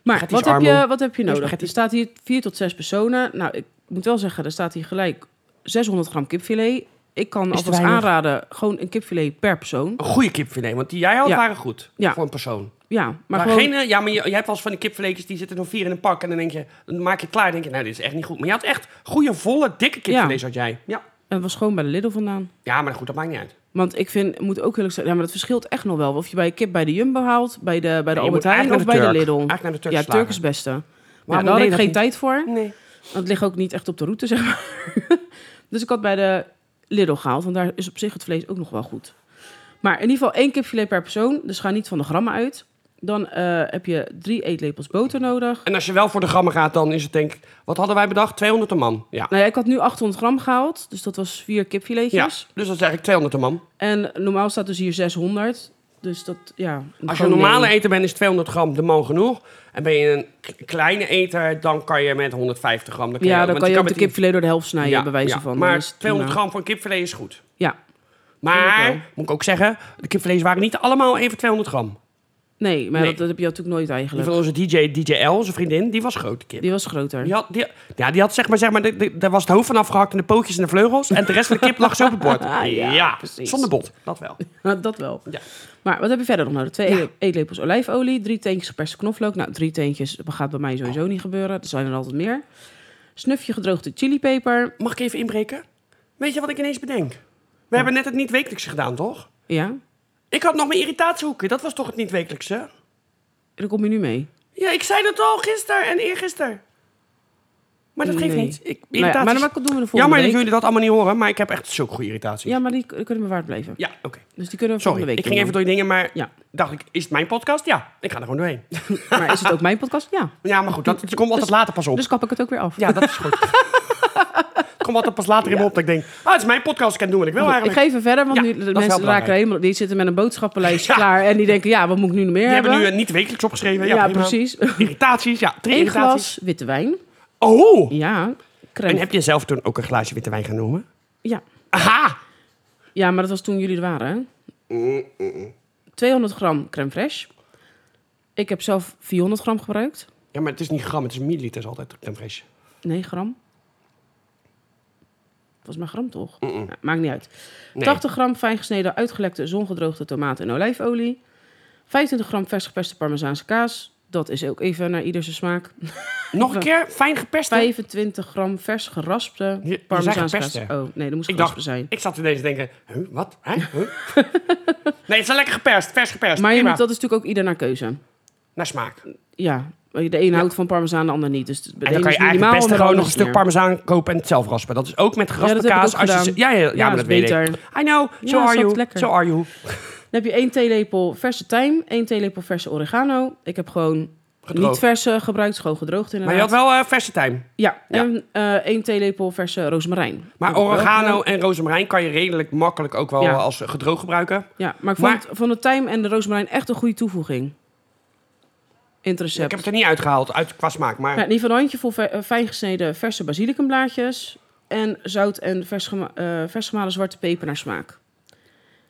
Speaker 1: Maar
Speaker 2: Spaghetti
Speaker 1: wat
Speaker 2: is
Speaker 1: heb,
Speaker 2: armoe.
Speaker 1: je, wat heb je nodig?
Speaker 2: spaghetti.
Speaker 1: Er staat hier vier tot zes personen. Nou, ik moet wel zeggen, er staat hier gelijk 600 gram kipfilet. Ik kan
Speaker 2: te
Speaker 1: alvast
Speaker 2: weinig.
Speaker 1: aanraden, gewoon een kipfilet per persoon.
Speaker 2: Een goede kipfilet, want die jij had
Speaker 1: Ja.
Speaker 2: waren goed.
Speaker 1: Ja.
Speaker 2: Voor een persoon.
Speaker 1: Ja, maar,
Speaker 2: Maar
Speaker 1: gewoon...
Speaker 2: geen, eh, ja, maar je, je hebt wel eens van die kipfiletjes, die zitten dan vier in een pak. En dan denk je, dan maak je het klaar. En denk je, nou, dit is echt niet goed. Maar je had echt goede, volle, dikke kipfilets had jij. Ja.
Speaker 1: Het was gewoon bij de Lidl vandaan.
Speaker 2: ja, maar goed, dat maakt niet uit.
Speaker 1: Want ik vind, moet ook eerlijk zijn, ja, maar dat verschilt echt nog wel. Of je bij je kip bij de Jumbo haalt, bij de, bij de
Speaker 2: je
Speaker 1: Albert
Speaker 2: moet
Speaker 1: Heijn of
Speaker 2: eigenlijk
Speaker 1: bij
Speaker 2: naar
Speaker 1: de
Speaker 2: de Turk.
Speaker 1: Lidl.
Speaker 2: Eigenlijk naar de Turk
Speaker 1: ja,
Speaker 2: slagen.
Speaker 1: Turk is het beste. Maar
Speaker 2: Waarom
Speaker 1: daar had
Speaker 2: deed
Speaker 1: ik
Speaker 2: dat
Speaker 1: geen
Speaker 2: niet?
Speaker 1: tijd voor.
Speaker 2: Nee.
Speaker 1: Want het ligt ook niet echt op de route, zeg maar. dus ik had bij de Lidl gehaald, want daar is op zich het vlees ook nog wel goed. Maar in ieder geval één kipfilet per persoon, dus ga niet van de grammen uit. Dan eh, heb je drie eetlepels boter nodig.
Speaker 2: En als je wel voor de grammen gaat, dan is het denk ik... Wat hadden wij bedacht? 200 een man. Ja.
Speaker 1: Nou ja, ik had nu 800 gram gehaald, dus dat was vier
Speaker 2: ja.
Speaker 1: kipfiletjes.
Speaker 2: Dus dat is eigenlijk 200 een man.
Speaker 1: En normaal staat dus hier 600. Dus dat, ja...
Speaker 2: Als je een
Speaker 1: gewoon
Speaker 2: normale
Speaker 1: nee.
Speaker 2: eter bent, is 200 gram de man genoeg. En ben je een k- kleine eter, dan kan je met 150 gram. Dan kan
Speaker 1: Ja,
Speaker 2: je,
Speaker 1: dan
Speaker 2: want
Speaker 1: kan je ook de
Speaker 2: met die-
Speaker 1: kipfilet door de helft snijden,
Speaker 2: Ja,
Speaker 1: bij wijze
Speaker 2: ja.
Speaker 1: van. Dan
Speaker 2: Maar
Speaker 1: is het
Speaker 2: 200
Speaker 1: prima.
Speaker 2: gram voor een kipfilet is goed.
Speaker 1: Ja, Vind ik
Speaker 2: Maar, moet ik ook zeggen, de kipfilets waren niet allemaal even 200 gram.
Speaker 1: nee, maar
Speaker 2: Nee.
Speaker 1: Dat, dat heb je natuurlijk nooit
Speaker 2: Die
Speaker 1: eigenlijk.
Speaker 2: van onze DJ, DJ L, zijn vriendin, die was grote kip.
Speaker 1: Die was groter.
Speaker 2: Die had, die, ja, die had zeg maar, zeg maar de- de- daar was het hoofd van afgehakt en de pootjes en de vleugels. En de rest van de kip lag zo op het bord. Ja,
Speaker 1: precies.
Speaker 2: zonder bot, dat wel.
Speaker 1: Nou, dat wel.
Speaker 2: Ja.
Speaker 1: Maar wat heb je verder nog nodig? Twee
Speaker 2: Ja.
Speaker 1: e- eetlepels olijfolie, drie teentjes geperste knoflook. Nou, drie teentjes dat gaat bij mij sowieso niet gebeuren. Er zijn er altijd meer. Snufje gedroogde chilipeper.
Speaker 2: Mag ik even inbreken? Weet je wat ik ineens bedenk? We hebben net het niet-wekelijkse gedaan, toch?
Speaker 1: Ja,
Speaker 2: Ik had nog mijn irritatiehoeken, dat was toch het niet-wekelijkse?
Speaker 1: daar kom je nu mee. Nou
Speaker 2: Ja, ik zei dat al gisteren en eergisteren. Maar dat geeft
Speaker 1: Nee.
Speaker 2: niet. Ik,
Speaker 1: Nou ja,
Speaker 2: irritaties...
Speaker 1: maar dan doen we de volgende
Speaker 2: Jammer
Speaker 1: week.
Speaker 2: dat jullie dat allemaal niet horen, maar ik heb echt zulke goede irritaties.
Speaker 1: Ja, maar die, die kunnen bewaard blijven.
Speaker 2: Ja, oké.
Speaker 1: Dus die kunnen we
Speaker 2: Sorry,
Speaker 1: volgende
Speaker 2: ik
Speaker 1: week
Speaker 2: ging even
Speaker 1: doen
Speaker 2: door je dingen, maar
Speaker 1: Ja.
Speaker 2: dacht ik, is het mijn podcast? Ja, ik ga er gewoon doorheen.
Speaker 1: dan. Maar is het ook mijn podcast? Ja.
Speaker 2: Ja, maar goed, dat, het komt altijd later pas op.
Speaker 1: Dus kap ik het ook weer af.
Speaker 2: Ja, dat is goed. het komt altijd pas later in me op dat ik denk, ah, het is mijn podcast, ik kan doen wat ik wil
Speaker 1: Ik
Speaker 2: eigenlijk.
Speaker 1: ga even verder, want
Speaker 2: Ja,
Speaker 1: nu,
Speaker 2: dat
Speaker 1: de
Speaker 2: is wel
Speaker 1: mensen
Speaker 2: belangrijk.
Speaker 1: raken helemaal... Die zitten met een boodschappenlijstje
Speaker 2: Ja.
Speaker 1: klaar en die denken... Ja, wat moet ik nu nog meer
Speaker 2: Die
Speaker 1: hebben?
Speaker 2: hebben nu eh, niet wekelijks opgeschreven. Ja,
Speaker 1: ja,
Speaker 2: prima.
Speaker 1: precies.
Speaker 2: Irritaties, ja, drie
Speaker 1: Eén
Speaker 2: irritaties.
Speaker 1: glas witte wijn.
Speaker 2: Oh!
Speaker 1: Ja, crème.
Speaker 2: En heb je zelf toen ook een glaasje witte wijn genomen?
Speaker 1: Ja.
Speaker 2: Aha!
Speaker 1: ja, maar dat was toen jullie er waren. hè? 200 gram crème fraîche. Ik heb zelf 400 gram gebruikt.
Speaker 2: Ja, maar het is niet gram, het is milliliters altijd, crème fraîche.
Speaker 1: Nee, gram. Dat was maar gram, toch? Ja, maakt niet uit.
Speaker 2: Nee.
Speaker 1: 80 gram fijn gesneden, uitgelekte, zongedroogde tomaten en olijfolie. 25 gram vers geperste parmezaanse kaas. Dat is ook even naar ieder zijn smaak.
Speaker 2: Nog een keer, fijn geperst. hè?
Speaker 1: 25 gram vers
Speaker 2: Je- je
Speaker 1: geraspte
Speaker 2: zei
Speaker 1: parmezaanse
Speaker 2: geperst,
Speaker 1: kaas.
Speaker 2: hè?
Speaker 1: Oh, nee, dat moest
Speaker 2: Ik
Speaker 1: geraspen
Speaker 2: dacht,
Speaker 1: zijn.
Speaker 2: ik zat ineens te denken, huh, wat? Hè? Huh? nee, het is lekker geperst, vers geperst.
Speaker 1: Maar je
Speaker 2: prima.
Speaker 1: moet, dat is natuurlijk ook ieder naar keuze.
Speaker 2: Naar smaak.
Speaker 1: Ja, de een houdt van parmezaan, de ander niet. Dus de
Speaker 2: En dan
Speaker 1: ene
Speaker 2: kan je
Speaker 1: is
Speaker 2: eigenlijk
Speaker 1: minimaal,
Speaker 2: het beste
Speaker 1: en de
Speaker 2: gewoon
Speaker 1: ander
Speaker 2: nog een
Speaker 1: is
Speaker 2: stuk
Speaker 1: meer.
Speaker 2: parmezaan kopen en het zelf raspen. Dat is ook met
Speaker 1: dat heb
Speaker 2: geraspte
Speaker 1: ik
Speaker 2: kaas.
Speaker 1: ook
Speaker 2: als je
Speaker 1: gedaan.
Speaker 2: ze- ja, ja, ja,
Speaker 1: Ja,
Speaker 2: maar
Speaker 1: is
Speaker 2: dat weet
Speaker 1: beter.
Speaker 2: ik. I know. So
Speaker 1: Ja,
Speaker 2: are
Speaker 1: is
Speaker 2: you.
Speaker 1: altijd lekker.
Speaker 2: So are you.
Speaker 1: Dan heb je één theelepel verse tijm, één theelepel verse oregano. Ik heb gewoon
Speaker 2: Gedroogd.
Speaker 1: niet verse gebruikt, gewoon gedroogd inderdaad.
Speaker 2: Maar je had wel eh, verse tijm.
Speaker 1: Ja,
Speaker 2: Ja.
Speaker 1: en eh één theelepel verse rozemarijn.
Speaker 2: Maar
Speaker 1: Dat heb ik wel
Speaker 2: oregano
Speaker 1: gedaan.
Speaker 2: en rozemarijn kan je redelijk makkelijk ook wel
Speaker 1: Ja.
Speaker 2: eh, als gedroog gebruiken.
Speaker 1: Ja, maar ik vond,
Speaker 2: Maar-
Speaker 1: vond de tijm en de rozemarijn echt een goede toevoeging. In het
Speaker 2: Ik
Speaker 1: recept.
Speaker 2: heb het er niet uitgehaald uit, qua smaak, maar
Speaker 1: Ja, in ieder geval een handjevol ver- eh, fijn gesneden verse basilicumblaadjes. En zout en vers, gema- eh, vers gemalen zwarte peper naar smaak.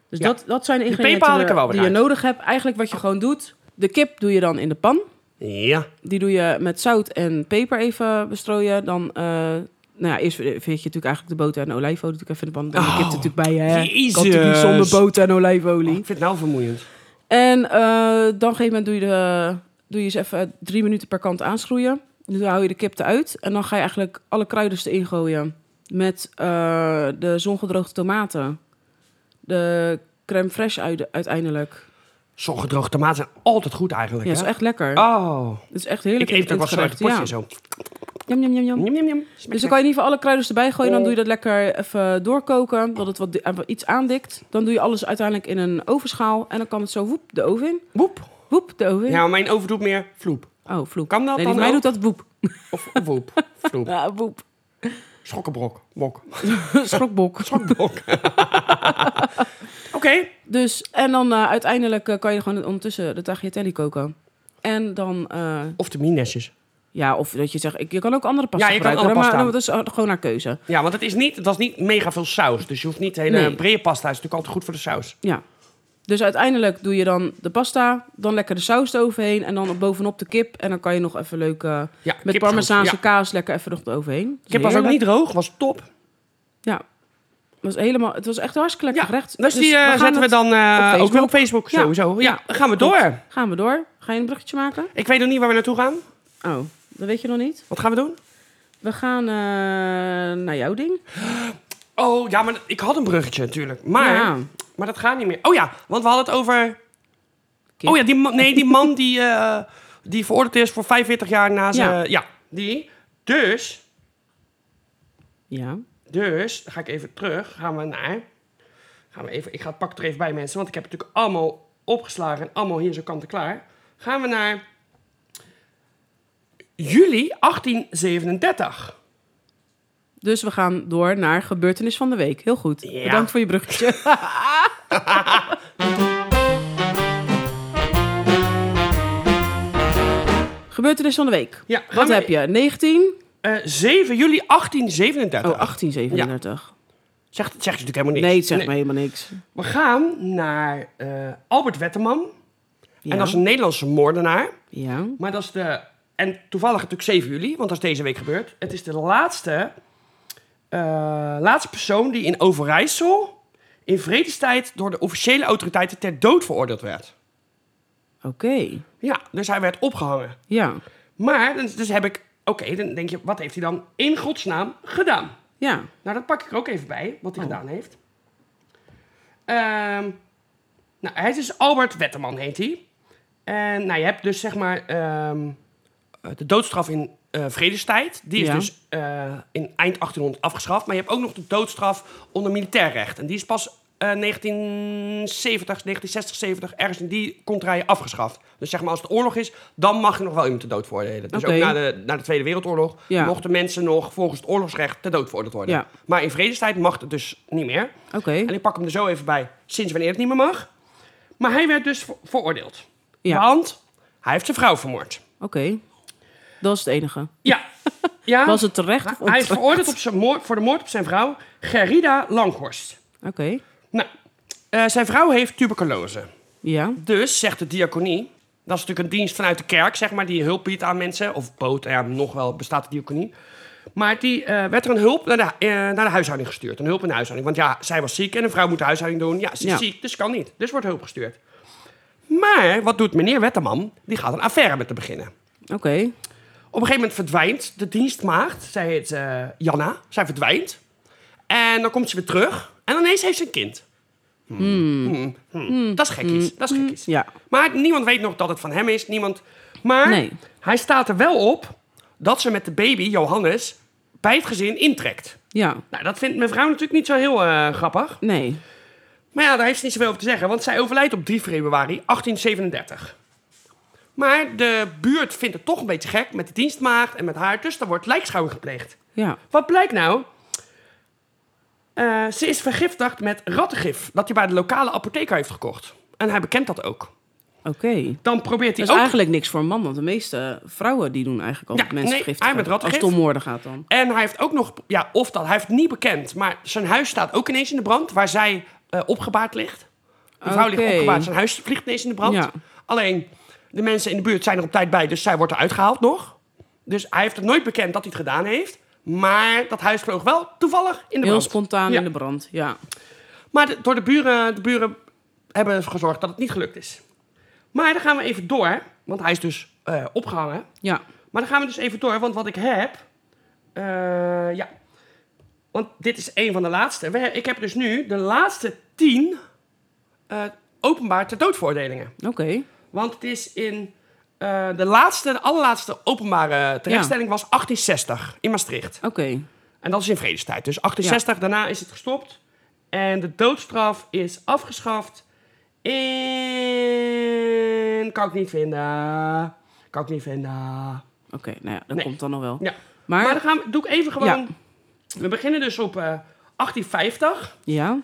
Speaker 1: Dus
Speaker 2: Ja.
Speaker 1: dat, dat zijn de
Speaker 2: Die peper
Speaker 1: ingrediënten
Speaker 2: haal ik er wel
Speaker 1: die
Speaker 2: weer
Speaker 1: je
Speaker 2: uit.
Speaker 1: nodig hebt. Eigenlijk wat je gewoon doet. De kip doe je dan in de pan.
Speaker 2: ja.
Speaker 1: Die doe je met zout en peper even bestrooien. Dan, eh, nou ja, eerst vind je natuurlijk eigenlijk de boter en de olijfolie natuurlijk even in de pan. Dan de
Speaker 2: Oh,
Speaker 1: kip er natuurlijk bij je. hè. Kan
Speaker 2: jezus.
Speaker 1: natuurlijk niet Eh, zonder boter en
Speaker 2: Oh,
Speaker 1: olijfolie.
Speaker 2: ik vind het nou vermoeiend.
Speaker 1: En eh, dan op een gegeven moment doe je, de, doe je eens even drie minuten per kant aanschroeien. Nu hou je de kip eruit. En dan ga je eigenlijk alle kruiden erin gooien. Met eh, de zongedroogde tomaten. De crème fraîche uit, uiteindelijk.
Speaker 2: Sommige droge tomaten zijn altijd goed eigenlijk.
Speaker 1: Ja, dat is
Speaker 2: hè?
Speaker 1: echt lekker.
Speaker 2: Oh,
Speaker 1: Het is echt heerlijk.
Speaker 2: ik eet het ook wel zo uit
Speaker 1: ingericht,
Speaker 2: het potje Oh.
Speaker 1: ja.
Speaker 2: zo.
Speaker 1: Jam, jam, jam, jam.
Speaker 2: Njam, njam, njam. Smaakt
Speaker 1: Dus dan
Speaker 2: lekker.
Speaker 1: kan je in ieder geval alle kruiden erbij gooien. Dan doe je dat lekker even doorkoken, dat het wat di- eh, wat iets aandikt. Dan doe je alles uiteindelijk in een ovenschaal. En dan kan het zo woep de oven in.
Speaker 2: Woep.
Speaker 1: Woep de oven in.
Speaker 2: Ja, maar mijn oven doet meer vloep.
Speaker 1: Oh, vloek.
Speaker 2: Kan dat
Speaker 1: nee,
Speaker 2: dan
Speaker 1: die- mij
Speaker 2: ook?
Speaker 1: doet dat woep.
Speaker 2: Of woep. Vloep.
Speaker 1: Ja, woep.
Speaker 2: Schokkenbrok. Mok.
Speaker 1: Schrokbok.
Speaker 2: Schokkenbrok. Oké.
Speaker 1: Dus, en dan eh, uiteindelijk eh, kan je gewoon ondertussen de tagliatelle koken. En dan, eh,
Speaker 2: Of de minesjes.
Speaker 1: ja, of dat je zegt, ik, je kan ook andere pasta
Speaker 2: Ja, je kan
Speaker 1: gebruiken. hè,
Speaker 2: andere
Speaker 1: maar
Speaker 2: pasta.
Speaker 1: dat is eh, gewoon naar keuze.
Speaker 2: Ja, want het is niet, dat is niet mega veel saus. Dus je hoeft niet de hele
Speaker 1: Nee.
Speaker 2: brede pasta. is natuurlijk altijd goed voor de saus.
Speaker 1: Ja. Dus uiteindelijk doe je dan de pasta, dan lekker de saus eroverheen en dan bovenop de kip. En dan kan je nog even leuk eh,
Speaker 2: Ja, kip
Speaker 1: met
Speaker 2: is
Speaker 1: parmezaanse
Speaker 2: goed. Ja.
Speaker 1: kaas lekker even nog eroverheen.
Speaker 2: Ik heb was ook niet droog. Was top.
Speaker 1: Ja, Het was helemaal, het was echt een hartstikke lekker gerecht.
Speaker 2: Dus die eh,
Speaker 1: we gaan
Speaker 2: zetten we
Speaker 1: het-
Speaker 2: dan eh,
Speaker 1: Facebook.
Speaker 2: ook weer op Facebook
Speaker 1: Ja.
Speaker 2: sowieso. Ja,
Speaker 1: Ja.
Speaker 2: dan gaan we
Speaker 1: Goed.
Speaker 2: door.
Speaker 1: Gaan we door. Ga je een bruggetje maken?
Speaker 2: Ik weet nog niet waar we naartoe gaan.
Speaker 1: Oh, dat weet je nog niet.
Speaker 2: Wat gaan we doen?
Speaker 1: We gaan eh, naar jouw ding.
Speaker 2: Oh, ja, maar ik had een bruggetje natuurlijk. Maar,
Speaker 1: Ja.
Speaker 2: maar dat gaat niet meer. Oh ja, want we hadden het over...
Speaker 1: Kip.
Speaker 2: Oh ja, die man, nee, die man die, eh, die veroordeeld is voor 45 jaar na zijn... Ja, die. Dus,
Speaker 1: Ja.
Speaker 2: dus, dan ga ik even terug. Gaan we naar... Gaan we even, ik ga het pak er even bij mensen, want ik heb het natuurlijk allemaal opgeslagen. En allemaal hier zo kant en klaar. Gaan we naar... Juli 1837.
Speaker 1: Dus we gaan door naar gebeurtenis van de week. Heel goed.
Speaker 2: Ja.
Speaker 1: Bedankt voor je bruggetje. gebeurtenis van de week.
Speaker 2: Ja, gaan
Speaker 1: Wat
Speaker 2: we-
Speaker 1: heb je? 19?
Speaker 2: Eh, 7 juli 1837.
Speaker 1: Oh, 1837.
Speaker 2: Zegt, zegt natuurlijk helemaal niks.
Speaker 1: Nee, het zegt me helemaal niks.
Speaker 2: We gaan naar eh, Albert Wetterman.
Speaker 1: Ja.
Speaker 2: En dat is een Nederlandse moordenaar.
Speaker 1: Ja.
Speaker 2: Maar dat is de... En toevallig natuurlijk 7 juli, want dat is deze week gebeurd. Het is de laatste, eh, laatste persoon die in Overijssel... in vredestijd door de officiële autoriteiten ter dood veroordeeld werd.
Speaker 1: Oké.
Speaker 2: Ja, dus hij werd opgehangen.
Speaker 1: Ja.
Speaker 2: Maar, dus, dus heb ik... Oké, dan denk je, wat heeft hij dan in godsnaam gedaan?
Speaker 1: Ja.
Speaker 2: Nou, dat pak ik er ook even bij,
Speaker 1: Oh.
Speaker 2: wat hij gedaan heeft. Ehm, nou, hij is dus Albert Wetterman, heet hij. En nou, je hebt dus zeg maar ehm, eh, de doodstraf in eh, vredestijd. Die is
Speaker 1: Ja.
Speaker 2: dus eh, in eind 1800 afgeschaft. Maar je hebt ook nog de doodstraf onder militair recht. En die is pas eh 1970, 1960, 70, ergens in die contraien afgeschaft. Dus zeg maar als het oorlog is, dan mag je nog wel iemand te dood veroordelen. Dus
Speaker 1: Oké.
Speaker 2: ook na de, na de Tweede Wereldoorlog
Speaker 1: Ja.
Speaker 2: mochten mensen nog volgens het oorlogsrecht te dood veroordeeld worden.
Speaker 1: Ja.
Speaker 2: Maar in vredestijd mag het dus niet meer.
Speaker 1: Oké.
Speaker 2: En ik pak hem er zo even bij sinds wanneer het niet meer mag. Maar hij werd dus ver- veroordeeld.
Speaker 1: Ja.
Speaker 2: Want hij heeft zijn vrouw vermoord.
Speaker 1: Oké. Dat is het enige.
Speaker 2: Ja. ja.
Speaker 1: Was het terecht of
Speaker 2: Hij is
Speaker 1: onterecht?
Speaker 2: veroordeeld op zijn moord, voor de moord op zijn vrouw, Gerida Langhorst.
Speaker 1: Oké.
Speaker 2: Nou, eh, zijn vrouw heeft tuberculose.
Speaker 1: Ja.
Speaker 2: Dus, zegt de diaconie, dat is natuurlijk een dienst vanuit de kerk, zeg maar, die hulp biedt aan mensen. Of boot, ja, nog wel bestaat de diaconie. Maar die eh, werd er een hulp naar de, eh, naar de huishouding gestuurd. Een hulp in de huishouding. Want ja, zij was ziek en een vrouw moet de huishouding doen. Ja, ze is
Speaker 1: Ja.
Speaker 2: ziek, dus kan niet. Dus wordt hulp gestuurd. Maar wat doet meneer Wetterman? Die gaat een affaire met te beginnen.
Speaker 1: Oké.
Speaker 2: Op een gegeven moment verdwijnt de dienstmaagd. Zij heet eh, Janna. Zij verdwijnt. En dan komt ze weer terug. En ineens heeft ze een kind. Hmm. Hmm. Hmm. Dat is gekkies. Dat is gekkies.
Speaker 1: Ja.
Speaker 2: Maar niemand weet nog dat het van hem is. Niemand. Maar
Speaker 1: Nee.
Speaker 2: hij staat er wel op dat ze met de baby, Johannes, bij het gezin intrekt.
Speaker 1: Ja.
Speaker 2: Nou, dat vindt mijn vrouw natuurlijk niet zo heel eh, grappig.
Speaker 1: Nee.
Speaker 2: Maar ja, daar heeft ze niet zoveel over te zeggen, want zij overlijdt op 3 februari 1837. Maar de buurt vindt het toch een beetje gek met de dienstmaagd en met haar, dus er wordt lijkschouwing gepleegd.
Speaker 1: Ja.
Speaker 2: Wat blijkt nou? Eh, ze is vergiftigd met rattengif, dat hij bij de lokale apotheker heeft gekocht. En hij bekent dat ook.
Speaker 1: Oké.
Speaker 2: Dan probeert
Speaker 1: Dat
Speaker 2: hij
Speaker 1: is
Speaker 2: ook...
Speaker 1: Dus eigenlijk niks voor een man, want de meeste vrouwen die doen eigenlijk altijd
Speaker 2: Ja,
Speaker 1: mensen
Speaker 2: nee,
Speaker 1: vergiftigen.
Speaker 2: hij met
Speaker 1: Als het
Speaker 2: ratgif.
Speaker 1: om moorden gaat dan.
Speaker 2: En hij heeft ook nog... Ja, of dat, hij heeft het niet bekend, maar zijn huis staat ook ineens in de brand, waar zij eh, opgebaard ligt. De vrouw
Speaker 1: Oké.
Speaker 2: ligt opgebaard, zijn huis vliegt ineens in de brand.
Speaker 1: Ja.
Speaker 2: Alleen, de mensen in de buurt zijn er op tijd bij, dus zij wordt eruit gehaald nog. Dus hij heeft het nooit bekend dat hij het gedaan heeft. Maar dat huis vloog wel toevallig in de brand.
Speaker 1: Heel spontaan
Speaker 2: Ja.
Speaker 1: in de brand, ja.
Speaker 2: Maar de- door de buren, de buren hebben gezorgd dat het niet gelukt is. Maar dan gaan we even door, want hij is dus eh, opgehangen.
Speaker 1: Ja,
Speaker 2: Maar dan gaan we dus even door, want wat ik heb. eh, ja. Want dit is een van de laatste. We, ik heb dus nu de laatste tien eh, openbaar ter doodveroordelingen.
Speaker 1: oké.
Speaker 2: Want het is in eh, de laatste, de allerlaatste openbare terechtstelling was 1860 in Maastricht.
Speaker 1: Oké.
Speaker 2: En dat is in vredestijd. Dus 1860, daarna is het gestopt. En de doodstraf is afgeschaft in... Kan ik niet vinden. Kan ik niet vinden.
Speaker 1: Oké, nou ja, dat
Speaker 2: Nee.
Speaker 1: komt dan nog wel.
Speaker 2: Ja.
Speaker 1: Maar,
Speaker 2: Maar, dan gaan we, doe ik even gewoon...
Speaker 1: Ja.
Speaker 2: We beginnen dus op eh, 1850.
Speaker 1: ja,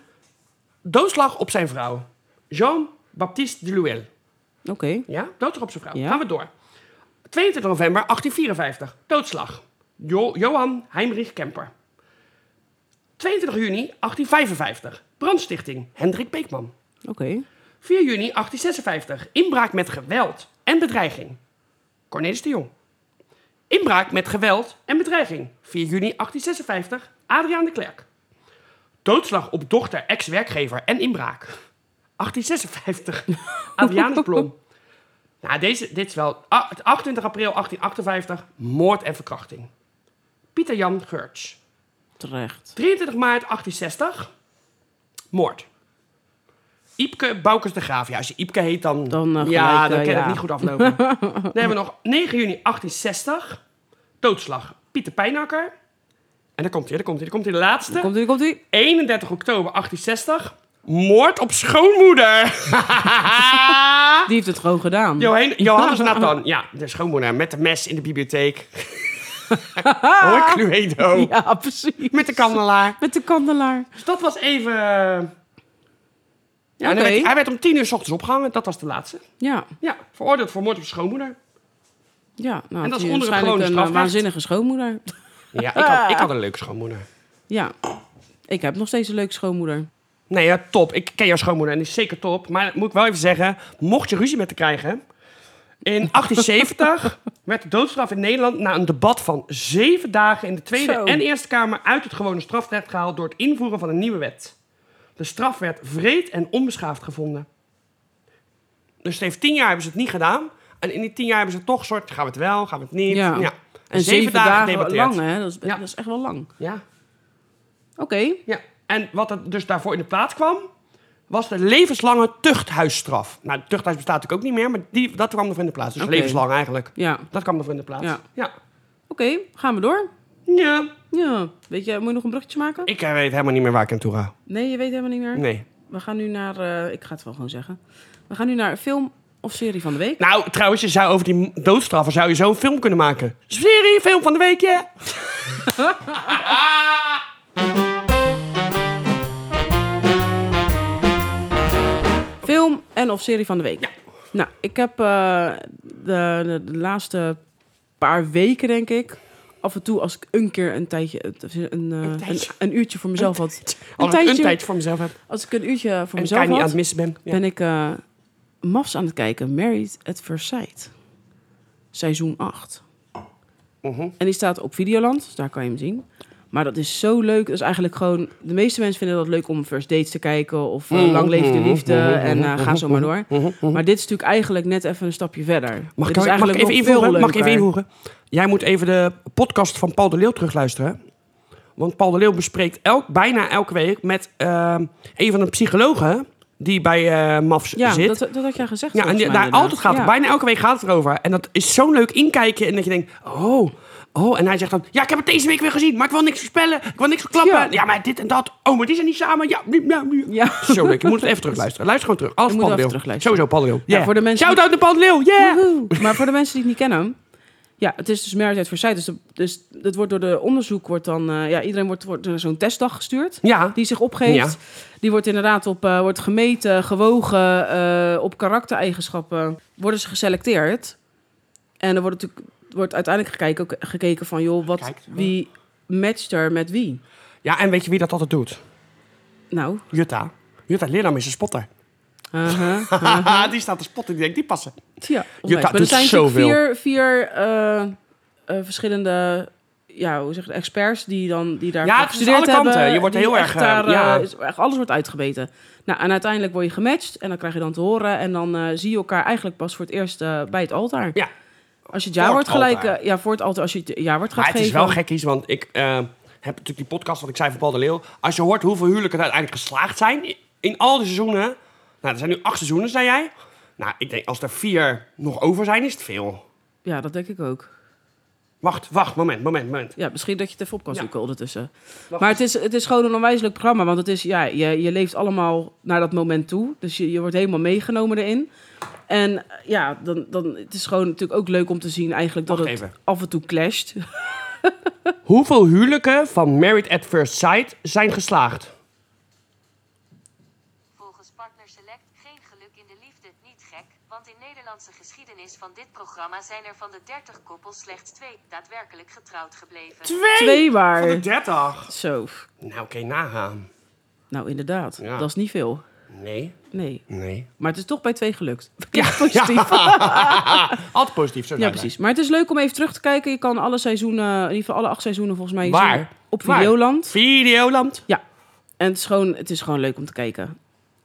Speaker 2: Doodslag op zijn vrouw. Jean-Baptiste de Luel.
Speaker 1: oké.
Speaker 2: Ja, doodslag op zijn vrouw.
Speaker 1: Ja.
Speaker 2: Gaan we door. 22 november 1854, doodslag. Jo- Johan Heinrich Kemper. 22 juni 1855, brandstichting. Hendrik Beekman.
Speaker 1: Oké.
Speaker 2: 4 juni 1856, inbraak met geweld en bedreiging. Cornelis de Jong. Inbraak met geweld en bedreiging. 4 juni 1856, Adriaan de Klerk. Doodslag op dochter, ex-werkgever en inbraak. 1856, Adrianus Blom. Nou, deze, dit is wel... ah, 28 april 1858, moord en verkrachting. Pieter Jan Geurts.
Speaker 1: Terecht.
Speaker 2: 23 maart 1860. Moord. Iepke Boukers de Graaf. Ja, als je Iepke heet, dan...
Speaker 1: Dan, eh,
Speaker 2: ja,
Speaker 1: gelijk,
Speaker 2: dan
Speaker 1: eh,
Speaker 2: kan
Speaker 1: ja.
Speaker 2: het niet goed aflopen. dan hebben we nog 9 juni 1860. Doodslag. Pieter Pijnakker. En daar komt hij, daar komt hij, daar komt hij de laatste.
Speaker 1: Komt-ie, komt-ie.
Speaker 2: 31 oktober 1860. Moord op schoonmoeder.
Speaker 1: Die heeft het gewoon gedaan.
Speaker 2: Johan- Johannes Nathan. Ja, de schoonmoeder met de mes in de bibliotheek. Hoor, Cluedo.
Speaker 1: Ah. Ja, precies.
Speaker 2: Met de kandelaar.
Speaker 1: Met de kandelaar.
Speaker 2: Dus dat was even. eh, Ja, en
Speaker 1: Oké.
Speaker 2: hij, werd, hij werd om tien uur s ochtends opgehangen. Dat was de laatste.
Speaker 1: Ja,
Speaker 2: Ja, veroordeeld voor moord op schoonmoeder.
Speaker 1: ja. Nou,
Speaker 2: En dat
Speaker 1: had
Speaker 2: is
Speaker 1: hij
Speaker 2: onder het
Speaker 1: waarschijnlijk
Speaker 2: gewone
Speaker 1: een eh,
Speaker 2: strafrecht.
Speaker 1: waanzinnige schoonmoeder.
Speaker 2: Ja, ik had, ik had een leuke schoonmoeder.
Speaker 1: Ja. Ik heb nog steeds een leuke schoonmoeder.
Speaker 2: Nee, ja, top. Ik ken jouw schoonmoeder en die is zeker top. Maar moet ik wel even zeggen, mocht je ruzie met te krijgen... In 1870 werd de doodstraf in Nederland na een debat van zeven dagen in de Tweede
Speaker 1: Zo.
Speaker 2: en Eerste Kamer uit het gewone strafrecht gehaald door het invoeren van een nieuwe wet. De straf werd wreed en onbeschaafd gevonden. Dus het heeft tien jaar hebben ze het niet gedaan. En in die tien jaar hebben ze toch soort, gaan we het wel, gaan we het niet.
Speaker 1: Ja.
Speaker 2: Ja. En, zeven, dagen, gedebatteerd.
Speaker 1: lang, hè? Dat is,
Speaker 2: Ja.
Speaker 1: dat is echt wel lang.
Speaker 2: Ja.
Speaker 1: Oké.
Speaker 2: Ja, en wat er dus daarvoor in de plaats kwam, was de levenslange tuchthuisstraf. Nou, het tuchthuis bestaat natuurlijk ook niet meer, maar die, dat kwam ervoor in de plaats. Dus
Speaker 1: Oké.
Speaker 2: levenslang eigenlijk.
Speaker 1: Ja. Oké,
Speaker 2: Dat kwam ervoor in de plaats.
Speaker 1: Ja.
Speaker 2: Ja. ja.
Speaker 1: gaan we door. Ja. Weet je, moet je nog een bruggetje maken?
Speaker 2: Ik eh, weet helemaal niet meer waar ik aan toe ga.
Speaker 1: Nee, je weet helemaal niet meer.
Speaker 2: Nee.
Speaker 1: We gaan nu naar... eh, ik ga het wel gewoon zeggen. We gaan nu naar film of serie van de week.
Speaker 2: Nou, trouwens, je zou over die m- doodstraffen zou je zo een film kunnen maken. Serie, film van de week, ja.
Speaker 1: Nou. Film en of serie van de week. Nou, ik heb eh, de, de, de laatste paar weken, denk ik... Af en toe, als ik een keer een tijdje, een, een, eh, een,
Speaker 2: tijdje.
Speaker 1: een uurtje voor mezelf had.
Speaker 2: Als ik een tijdje voor mezelf heb
Speaker 1: Als ik een uurtje voor
Speaker 2: en ik
Speaker 1: mezelf
Speaker 2: niet aan
Speaker 1: had.
Speaker 2: het missen ben. Ja.
Speaker 1: ben ik eh Mafs aan het kijken. Married at First Sight. Seizoen 8.
Speaker 2: Mhm.
Speaker 1: En die staat op Videoland, dus daar kan je hem zien. Maar dat is zo leuk. Dat is eigenlijk gewoon... De meeste mensen vinden dat leuk om first dates te kijken... of
Speaker 2: Mhm.
Speaker 1: eh, lang leef de liefde en eh, ga zo maar door. Maar dit is natuurlijk eigenlijk net even een stapje verder.
Speaker 2: Mag ik,
Speaker 1: Dit is
Speaker 2: mag ik
Speaker 1: eigenlijk
Speaker 2: even
Speaker 1: nog veel
Speaker 2: invoeren? Mag ik even
Speaker 1: leuker.
Speaker 2: invoeren? Jij moet even de podcast van Paul de Leeuw terugluisteren. Want Paul de Leeuw bespreekt elk, bijna elke week met ehm, een van de psychologen die bij eh MAFS
Speaker 1: Ja,
Speaker 2: zit.
Speaker 1: dat, dat had jij gezegd.
Speaker 2: ja, en
Speaker 1: volgens
Speaker 2: die-
Speaker 1: mij
Speaker 2: daar
Speaker 1: inderdaad.
Speaker 2: altijd gaat het,
Speaker 1: Ja.
Speaker 2: bijna elke week gaat het erover. En dat is zo'n leuk inkijkje en dat je denkt, oh, oh. En hij zegt dan, ja, ik heb het deze week weer gezien, maar ik wil niks voorspellen, ik wil niks verklappen.
Speaker 1: Ja.
Speaker 2: Ja, maar dit en dat, oh, maar die zijn niet samen, ja, nu, nou, nu.
Speaker 1: Ja.
Speaker 2: Zo leuk, je moet het even terugluisteren. Luister gewoon terug, alles
Speaker 1: Je moet
Speaker 2: Paul de
Speaker 1: even
Speaker 2: Leeuw.
Speaker 1: terugluisteren.
Speaker 2: Sowieso Paul de Leeuw. Yeah.
Speaker 1: voor de mensen
Speaker 2: Shout-out naar Paul de Leeuw, yeah!
Speaker 1: Woehoe. Maar voor de mensen die het niet kennen... Ja, het is dus Marriage at First Sight. Dus, de- dus het wordt door de onderzoek... Wordt dan, eh, ja, iedereen wordt, wordt naar zo'n testdag gestuurd.
Speaker 2: Ja.
Speaker 1: Die zich opgeeft.
Speaker 2: Ja.
Speaker 1: Die wordt inderdaad op, eh, wordt gemeten, gewogen... eh, op karaktereigenschappen worden ze geselecteerd. En er wordt, natuurlijk, wordt uiteindelijk gekeken, ook gekeken van... joh, wat,
Speaker 2: Kijkt.
Speaker 1: wie matcht er met wie?
Speaker 2: Ja, en weet je wie dat altijd doet?
Speaker 1: Nou,
Speaker 2: Jutta. Jutta Leerdam is een spotter.
Speaker 1: aha.
Speaker 2: Haha, die staat te spotten. Die denkt, die passen.
Speaker 1: Tja,
Speaker 2: Je
Speaker 1: onwijs.
Speaker 2: ta-
Speaker 1: maar er
Speaker 2: doet
Speaker 1: zijn natuurlijk
Speaker 2: zoveel.
Speaker 1: vier, vier eh, eh, verschillende ja, hoe zeg je, experts die, dan, die daar
Speaker 2: Ja, het is
Speaker 1: gestudeerd
Speaker 2: alle kanten.
Speaker 1: hebben,
Speaker 2: Je wordt
Speaker 1: die
Speaker 2: heel
Speaker 1: echt
Speaker 2: erg, eh,
Speaker 1: daar, eh,
Speaker 2: ja.
Speaker 1: is- echt alles wordt uitgebeten. Nou, en uiteindelijk word je gematcht en dan krijg je dan te horen. En dan eh, zie je elkaar eigenlijk pas voor het eerst eh, bij het altaar.
Speaker 2: Ja.
Speaker 1: Als je het ja
Speaker 2: Voor
Speaker 1: wordt
Speaker 2: het
Speaker 1: gelijk...
Speaker 2: altaar.
Speaker 1: eh, ja, voor het altaar. Als je het ja wordt gaat
Speaker 2: Maar het is
Speaker 1: geven.
Speaker 2: wel gekkies, want ik eh, heb natuurlijk die podcast, wat ik zei van Paul de Leeuw. Als je hoort hoeveel huwelijken er uiteindelijk geslaagd zijn in al die seizoenen. Nou, er zijn nu acht seizoenen, zei jij. Nou, ik denk als er vier nog over zijn, is het veel.
Speaker 1: Ja, dat denk ik ook.
Speaker 2: Wacht, wacht, moment, moment, moment.
Speaker 1: Ja, misschien dat je het even op kan
Speaker 2: Ja.
Speaker 1: zoeken ondertussen.
Speaker 2: Wacht
Speaker 1: maar het is, het is gewoon een onwijs leuk programma. Want het is, ja, je, je leeft allemaal naar dat moment toe. Dus je, je wordt helemaal meegenomen erin. En eh, ja, dan, dan, het is gewoon natuurlijk ook leuk om te zien eigenlijk dat
Speaker 2: Wacht
Speaker 1: het
Speaker 2: even.
Speaker 1: af en toe clasht.
Speaker 2: Hoeveel huwelijken van Married at First Sight zijn geslaagd?
Speaker 3: Volgens Partner Select geen geluk in de liefde, niet gek, want in Nederlandse geschiedenis van dit programma zijn er van de 30 koppels slechts twee daadwerkelijk getrouwd gebleven.
Speaker 1: Twee
Speaker 2: Van de
Speaker 1: waar.
Speaker 2: 30.
Speaker 1: Zo.
Speaker 2: Nou, oké, nagaan.
Speaker 1: Nou, inderdaad.
Speaker 2: Ja.
Speaker 1: Dat is niet veel.
Speaker 2: Nee,
Speaker 1: Nee.
Speaker 2: nee.
Speaker 1: Maar het is toch bij twee gelukt. Ja, positief.
Speaker 2: Altijd positief, zo
Speaker 1: Ja,
Speaker 2: zijn
Speaker 1: precies. Maar het is leuk om even terug te kijken. Je kan alle seizoenen, in ieder geval alle acht seizoenen volgens mij...
Speaker 2: wij. Waar?
Speaker 1: zien Op
Speaker 2: Waar?
Speaker 1: Videoland.
Speaker 2: Videoland.
Speaker 1: Ja. En het is, gewoon, het is gewoon leuk om te kijken.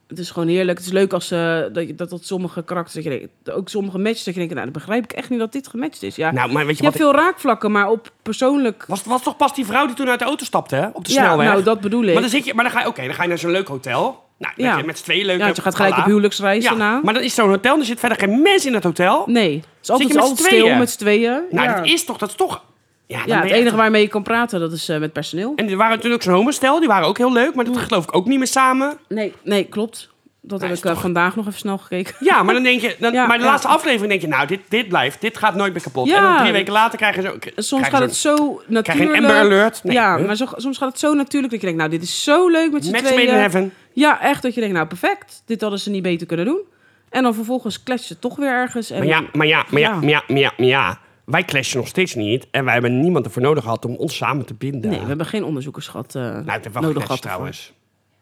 Speaker 1: Het is gewoon heerlijk. Het is leuk als eh, dat, je- dat, dat sommige karakters... Dat je, denkt- ook sommige matches dat je denkt... Nou, dan begrijp ik echt niet dat dit gematcht is. Ja.
Speaker 2: Nou, maar weet
Speaker 1: je
Speaker 2: je,
Speaker 1: hebt
Speaker 2: wat?
Speaker 1: veel raakvlakken, maar op persoonlijk...
Speaker 2: Was, was toch pas die vrouw die toen uit de auto stapte, hè? Op de
Speaker 1: Ja,
Speaker 2: snelweg?
Speaker 1: nou, dat bedoel ik.
Speaker 2: Maar dan, zit je, maar dan ga je, oké, dan ga je naar zo'n leuk hotel. Nou, dan
Speaker 1: Ja.
Speaker 2: heb je met z'n tweeën leuke...
Speaker 1: Ja, je gaat gelijk
Speaker 2: Alla.
Speaker 1: op huwelijksreis daarna.
Speaker 2: maar dan is zo'n hotel, er zit verder geen mens in het hotel.
Speaker 1: Nee. Het is altijd,
Speaker 2: je met z'n
Speaker 1: altijd stil
Speaker 2: tweeën?
Speaker 1: met z'n tweeën.
Speaker 2: Nou,
Speaker 1: ja.
Speaker 2: dat is toch, dat is toch... Ja, dan
Speaker 1: Ja,
Speaker 2: ben
Speaker 1: het
Speaker 2: je echt-
Speaker 1: enige waarmee je kan praten, dat is eh, met personeel.
Speaker 2: En er waren natuurlijk zo'n homostel, die waren ook heel leuk,
Speaker 1: Mm.
Speaker 2: maar dat geloof ik ook niet meer samen.
Speaker 1: Nee, nee klopt. Dat heb
Speaker 2: is
Speaker 1: ik eh,
Speaker 2: toch-
Speaker 1: vandaag nog even snel gekeken.
Speaker 2: Ja, maar dan denk je, dan,
Speaker 1: Ja,
Speaker 2: maar de
Speaker 1: ja.
Speaker 2: laatste aflevering denk je, nou, dit, dit blijft, dit gaat nooit meer kapot.
Speaker 1: Ja.
Speaker 2: En dan drie weken later krijgen ze ook.
Speaker 1: En soms
Speaker 2: krijgen
Speaker 1: gaat
Speaker 2: ze
Speaker 1: het zo natuurlijk.
Speaker 2: krijg je een Amber Alert? Nee.
Speaker 1: Ja,
Speaker 2: Huh?
Speaker 1: maar zo- soms gaat het zo natuurlijk dat je denkt, nou, dit is zo leuk met z'n
Speaker 2: Match
Speaker 1: tweeën.
Speaker 2: made in heaven.
Speaker 1: Ja, echt dat je denkt, nou, perfect. Dit hadden ze niet beter kunnen doen. En dan vervolgens clasht ze toch weer ergens. En
Speaker 2: Maar ja, maar ja, maar ja,
Speaker 1: Ja.
Speaker 2: maar ja, maar ja, maar ja. Wij clashen nog steeds niet en wij hebben niemand ervoor nodig gehad om ons samen te binden.
Speaker 1: Nee, we hebben geen onderzoekers gehad eh,
Speaker 2: Nou, het heeft wel
Speaker 1: nodig
Speaker 2: geclashed
Speaker 1: gehad
Speaker 2: trouwens.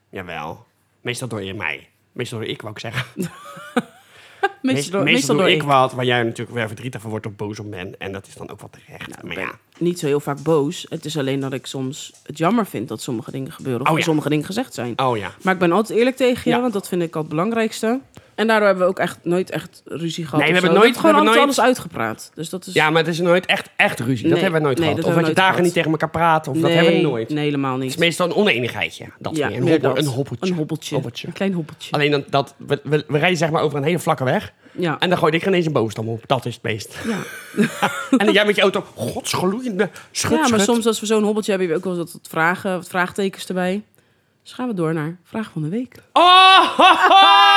Speaker 2: Jawel. Meestal door je mij. Meestal door ik, wou ik zeggen.
Speaker 1: ervoor. Meestal,
Speaker 2: Meestal,
Speaker 1: door, meestal door
Speaker 2: doe ik
Speaker 1: ik.
Speaker 2: wat waar jij natuurlijk weer verdrietig van wordt of boos om bent. En dat is dan ook wat terecht.
Speaker 1: Nou,
Speaker 2: maar ja.
Speaker 1: Niet zo heel vaak boos. Het is alleen dat ik soms het jammer vind dat sommige dingen gebeuren. Of
Speaker 2: Oh,
Speaker 1: dat
Speaker 2: ja.
Speaker 1: sommige dingen gezegd zijn.
Speaker 2: Oh ja.
Speaker 1: Maar ik ben altijd eerlijk tegen je,
Speaker 2: Ja.
Speaker 1: want dat vind ik al het belangrijkste. En daardoor hebben we ook echt nooit echt ruzie gehad.
Speaker 2: Nee, we
Speaker 1: of zo.
Speaker 2: hebben nooit-
Speaker 1: We hebben
Speaker 2: we
Speaker 1: gewoon
Speaker 2: hebben
Speaker 1: altijd alles uitgepraat. Dus dat is...
Speaker 2: Ja, maar het is nooit echt, echt ruzie. dat
Speaker 1: Nee,
Speaker 2: hebben we nooit
Speaker 1: nee,
Speaker 2: gehad.
Speaker 1: dat
Speaker 2: Of dat je
Speaker 1: hebben we
Speaker 2: dagen
Speaker 1: nooit
Speaker 2: niet tegen elkaar praat. Of dat
Speaker 1: Nee,
Speaker 2: hebben we nooit.
Speaker 1: Nee, helemaal niet.
Speaker 2: Het is meestal een oneenigheidje. Dat
Speaker 1: Ja,
Speaker 2: weer.
Speaker 1: meer
Speaker 2: Een, hobbel,
Speaker 1: dat.
Speaker 2: een hobbeltje.
Speaker 1: Een hobbeltje.
Speaker 2: Hobbeltje.
Speaker 1: Een klein hobbeltje.
Speaker 2: Alleen dan, dat, we, we, we rijden zeg maar over een hele vlakke weg.
Speaker 1: Ja.
Speaker 2: En dan gooi ik ineens een boomstam op. Dat is het beest.
Speaker 1: ja.
Speaker 2: en dan jij met je auto, godsgeloeiende, schud,
Speaker 1: ja, maar
Speaker 2: schud.
Speaker 1: soms als we zo'n hobbeltje hebben, hebben we ook wel eens wat vragen, wat vraagtekens erbij. Dus gaan we door naar vraag van de week.
Speaker 2: Oh, ho, ho!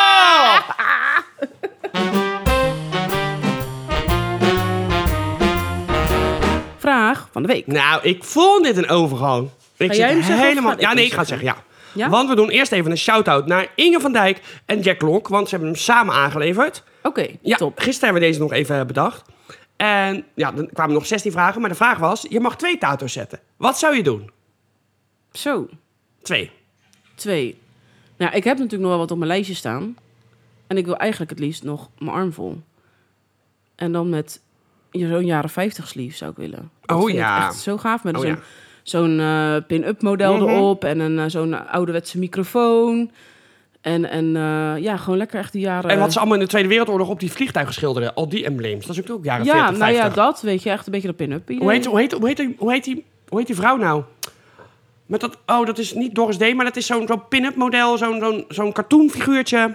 Speaker 1: Vraag van de week.
Speaker 2: Nou, ik vond dit een overgang. Ik
Speaker 1: jij hem zeggen of
Speaker 2: helemaal...
Speaker 1: ga ik
Speaker 2: Ja, nee,
Speaker 1: hem
Speaker 2: ik ga het zeggen, ja.
Speaker 1: Ja?
Speaker 2: Want we doen eerst even een shout-out naar Inge van Dijk en Jack Lonk. Want ze hebben hem samen aangeleverd.
Speaker 1: Oké,
Speaker 2: Ja,
Speaker 1: top.
Speaker 2: gisteren hebben we deze nog even bedacht. En ja, dan kwamen nog 16 vragen. Maar de vraag was, je mag twee tato's zetten. Wat zou je doen?
Speaker 1: Zo,
Speaker 2: Twee.
Speaker 1: twee. Nou, ik heb natuurlijk nog wel wat op mijn lijstje staan. En ik wil eigenlijk het liefst nog mijn arm vol. En dan met zo'n jaren 50 sleeve zou ik willen. Dat
Speaker 2: Oh
Speaker 1: vind ik
Speaker 2: ja.
Speaker 1: echt zo gaaf. Met
Speaker 2: Oh
Speaker 1: zo'n
Speaker 2: ja.
Speaker 1: zo'n, eh, pin-up model
Speaker 2: Mhm.
Speaker 1: erop. En een, eh, zo'n ouderwetse microfoon. En, en eh, ja, gewoon lekker echt die jaren...
Speaker 2: En wat ze allemaal in de Tweede Wereldoorlog op die vliegtuigen schilderden. Al die embleems. Dat is natuurlijk ook jaren
Speaker 1: Ja,
Speaker 2: 40,
Speaker 1: nou ja,
Speaker 2: 50.
Speaker 1: dat weet je echt een beetje dat pin-up. idee.
Speaker 2: Hoe heet, hoe, heet, hoe, heet, die- hoe, heet die, hoe heet die vrouw nou? Met dat, oh, dat is niet Doris D, maar dat is zo'n zo'n pin-up model, zo'n zo'n zo'n cartoonfiguurtje.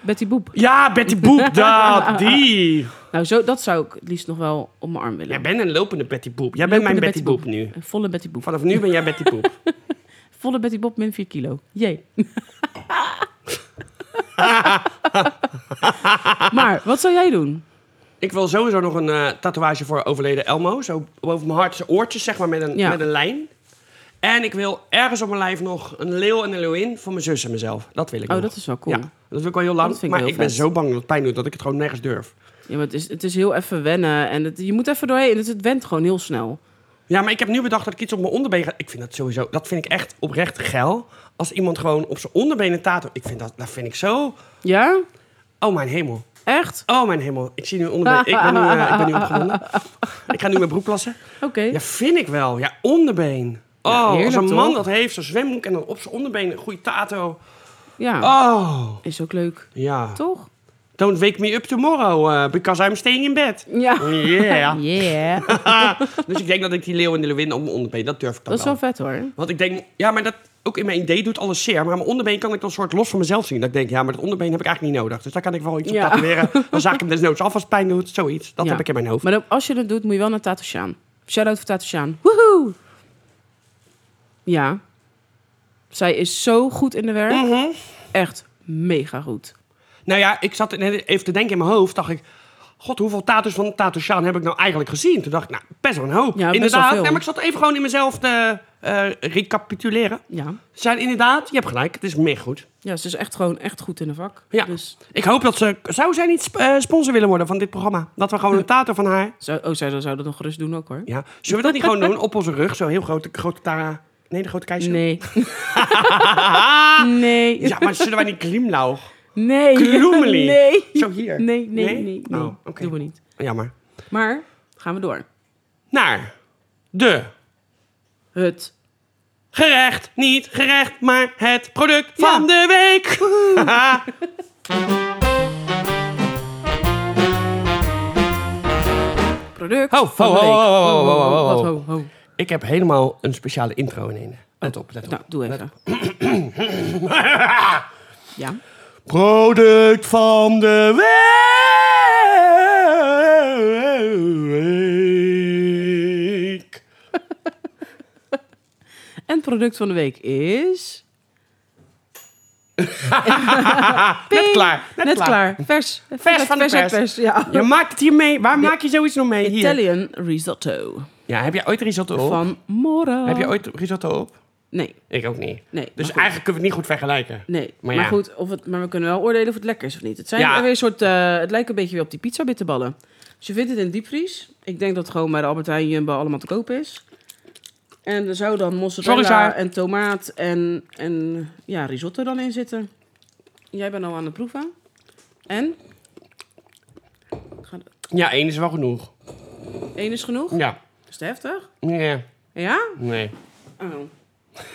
Speaker 1: Betty Boep.
Speaker 2: Ja, Betty Boop, dat, die.
Speaker 1: Nou, zo, dat zou ik het liefst nog wel op mijn arm willen.
Speaker 2: Jij bent een lopende Betty Boop. Jij bent mijn
Speaker 1: Lopende
Speaker 2: Betty Boop nu.
Speaker 1: Een volle Betty Boep.
Speaker 2: Vanaf nu ben jij Betty Boop.
Speaker 1: Volle Betty Boep min 4 kilo. Jee. maar wat zou jij doen? Oh,
Speaker 2: Ik wil sowieso nog een eh, tatoeage voor overleden Elmo. Zo boven mijn hart, zijn oortjes, zeg maar, met een,
Speaker 1: Ja.
Speaker 2: met een lijn. En ik wil ergens op mijn lijf nog een leeuw en een leeuwin van mijn zus en mezelf. Dat wil ik
Speaker 1: Oh,
Speaker 2: nog.
Speaker 1: dat is wel cool.
Speaker 2: Ja, dat wil ik al heel lang.
Speaker 1: Dat vind ik
Speaker 2: maar
Speaker 1: heel
Speaker 2: ik ben
Speaker 1: vet.
Speaker 2: zo bang dat het pijn doet dat ik het gewoon nergens durf.
Speaker 1: Ja, maar het, is, het is heel even wennen. En het, je moet even doorheen. Het, het went gewoon heel snel.
Speaker 2: Ja, maar ik heb nu bedacht dat ik iets op mijn onderbeen ga... Ik vind dat sowieso... Dat vind ik echt oprecht geil. Als iemand gewoon op zijn onderbeen een tato... Ik vind dat... Dat vind ik zo...
Speaker 1: Ja?
Speaker 2: Oh, mijn hemel.
Speaker 1: Echt?
Speaker 2: Oh, mijn hemel. Ik zie nu onderbeen... Ik ben nu, eh, ik ben nu opgewonden. Ik ga nu mijn broek plassen.
Speaker 1: Oké.
Speaker 2: Ja, vind ik wel. Ja, onderbeen. Oh, als
Speaker 1: heerlijk,
Speaker 2: een man
Speaker 1: toch?
Speaker 2: dat heeft, zo'n zwemhoek en dan op zijn onderbeen een goede tato.
Speaker 1: Ja.
Speaker 2: Oh,
Speaker 1: Is ook leuk.
Speaker 2: ja.
Speaker 1: Toch?
Speaker 2: Don't wake me up tomorrow, eh, because I'm staying in bed.
Speaker 1: Ja.
Speaker 2: Yeah.
Speaker 1: Yeah.
Speaker 2: dus ik denk dat ik die leeuw en de leeuwin op mijn onderbeen, dat durf ik dan
Speaker 1: Dat is
Speaker 2: wel.
Speaker 1: wel vet hoor.
Speaker 2: Want ik denk, ja, maar dat ook in mijn idee doet alles zeer. Maar mijn onderbeen kan ik dan soort los van mezelf zien. Dat ik denk, ja, maar dat onderbeen heb ik eigenlijk niet nodig. Dus daar kan ik wel iets
Speaker 1: Ja.
Speaker 2: op tatoeëren. Dan zaak ik hem desnoods af als het pijn doet, zoiets. Dat
Speaker 1: Ja.
Speaker 2: heb ik in mijn hoofd.
Speaker 1: Maar dan- als je dat doet, moet je wel naar Tato Sjaan. Shout-out voor Tato Sjaan. Woehoe! Ja. Zij is zo goed in de werk.
Speaker 2: Mhm.
Speaker 1: Echt mega goed.
Speaker 2: Nou ja, ik zat net even te denken in mijn hoofd, dacht ik... God, hoeveel tattoos van Tato Sjaan heb ik nou eigenlijk gezien? Toen dacht ik, nou, best wel een hoop.
Speaker 1: Ja, best
Speaker 2: inderdaad.
Speaker 1: wel veel.
Speaker 2: Nee, maar ik zat even gewoon in mezelf te eh, recapituleren.
Speaker 1: Ja.
Speaker 2: Ze zijn inderdaad, je hebt gelijk, het is meer goed.
Speaker 1: Ja, ze is echt gewoon echt goed in de vak.
Speaker 2: Ja.
Speaker 1: Dus,
Speaker 2: Ik hoop dat ze... Zou zij niet sp- eh, sponsor willen worden van dit programma? Dat we gewoon een tato van haar...
Speaker 1: zou, oh, zij zou dat nog gerust doen ook hoor.
Speaker 2: Ja. Zullen we dat niet gewoon doen? Op onze rug, zo heel grote, grote tara... Nee, de grote keizer.
Speaker 1: Nee. nee.
Speaker 2: Ja, maar zullen wij niet glimlauw?
Speaker 1: Nee.
Speaker 2: Kloemeli.
Speaker 1: Nee.
Speaker 2: Zo hier.
Speaker 1: Nee, nee, nee.
Speaker 2: Nee?
Speaker 1: nee,
Speaker 2: Oh, oké.
Speaker 1: Doen we niet.
Speaker 2: Jammer.
Speaker 1: Maar, gaan we door.
Speaker 2: Naar de
Speaker 1: Het.
Speaker 2: gerecht, niet gerecht, maar het product
Speaker 1: Ja.
Speaker 2: van de week. Haha.
Speaker 1: Product
Speaker 2: Ho,
Speaker 1: van
Speaker 2: ho,
Speaker 1: de
Speaker 2: ho,
Speaker 1: week.
Speaker 2: ho, ho, ho, ho, ho.
Speaker 1: Wat ho, ho.
Speaker 2: Ik heb helemaal een speciale intro in. Let op, let op.
Speaker 1: Nou, doe even. ja.
Speaker 2: Product van de week.
Speaker 1: En product van de week is...
Speaker 2: Net klaar.
Speaker 1: Net, klaar. Vers.
Speaker 2: Vers van de
Speaker 1: vers uit
Speaker 2: pers.
Speaker 1: pers, ja.
Speaker 2: Je maakt het hier mee. Waar maak je zoiets nog mee? Hier.
Speaker 1: Italian risotto.
Speaker 2: Ja, heb jij ooit risotto op?
Speaker 1: Van Mora.
Speaker 2: Heb je ooit risotto op?
Speaker 1: Nee,
Speaker 2: Ik ook niet.
Speaker 1: Nee, maar
Speaker 2: dus
Speaker 1: goed.
Speaker 2: eigenlijk kunnen we het niet goed vergelijken.
Speaker 1: nee. Maar,
Speaker 2: Maar ja.
Speaker 1: goed, of het, maar we kunnen wel oordelen of het lekker is of niet. Het, zijn
Speaker 2: Ja.
Speaker 1: weer een soort, eh, het lijkt een beetje weer op die pizza bitterballen. Dus je vindt het in de diepvries. Ik denk dat het gewoon bij de Albert Heijn Jumbo allemaal te koop is. En er zou dan
Speaker 2: Sorry,
Speaker 1: mozzarella
Speaker 2: Saar.
Speaker 1: en tomaat en, en ja, risotto dan in zitten. Jij bent al aan het proeven. En? Ga-
Speaker 2: Ja, één is wel genoeg.
Speaker 1: Eén is genoeg?
Speaker 2: Ja.
Speaker 1: Is te heftig?
Speaker 2: Nee,
Speaker 1: Ja?
Speaker 2: nee.
Speaker 1: Oh.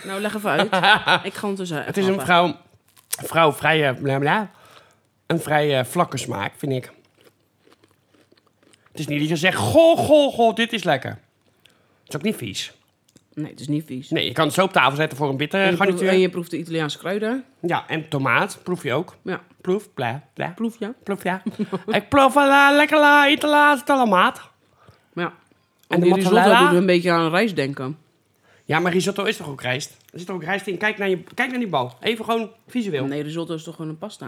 Speaker 1: Nou, leg even uit. Ik ga ondertussen
Speaker 2: Het is een vrouw, vrouw vrij, bla bla, een vrij eh, vlakke smaak, vind ik. Het is niet dat je zegt, goh, goh, goh, dit is lekker. Het is ook niet vies.
Speaker 1: Nee, het is niet vies.
Speaker 2: Nee, eh, je kan het zo op tafel zetten voor een
Speaker 1: En
Speaker 2: bittere
Speaker 1: je, proeft, en
Speaker 2: garnituur.
Speaker 1: je proeft de Italiaanse kruiden.
Speaker 2: Ja, en tomaat, proef je ook.
Speaker 1: Ja,
Speaker 2: Proef, bla, bla.
Speaker 1: proef ja.
Speaker 2: Proef, ja. Ik proef een eh, lekkere Italiaanse tomaat.
Speaker 1: Maar ja,
Speaker 2: En
Speaker 1: en
Speaker 2: de
Speaker 1: die risotto
Speaker 2: mozzarella?
Speaker 1: doet een beetje aan rijst denken.
Speaker 2: Ja, maar risotto is toch ook rijst? Er zit toch ook rijst in? Kijk naar, je, kijk naar die bal. Even gewoon visueel. Nee.
Speaker 1: Nee, risotto is toch gewoon een pasta?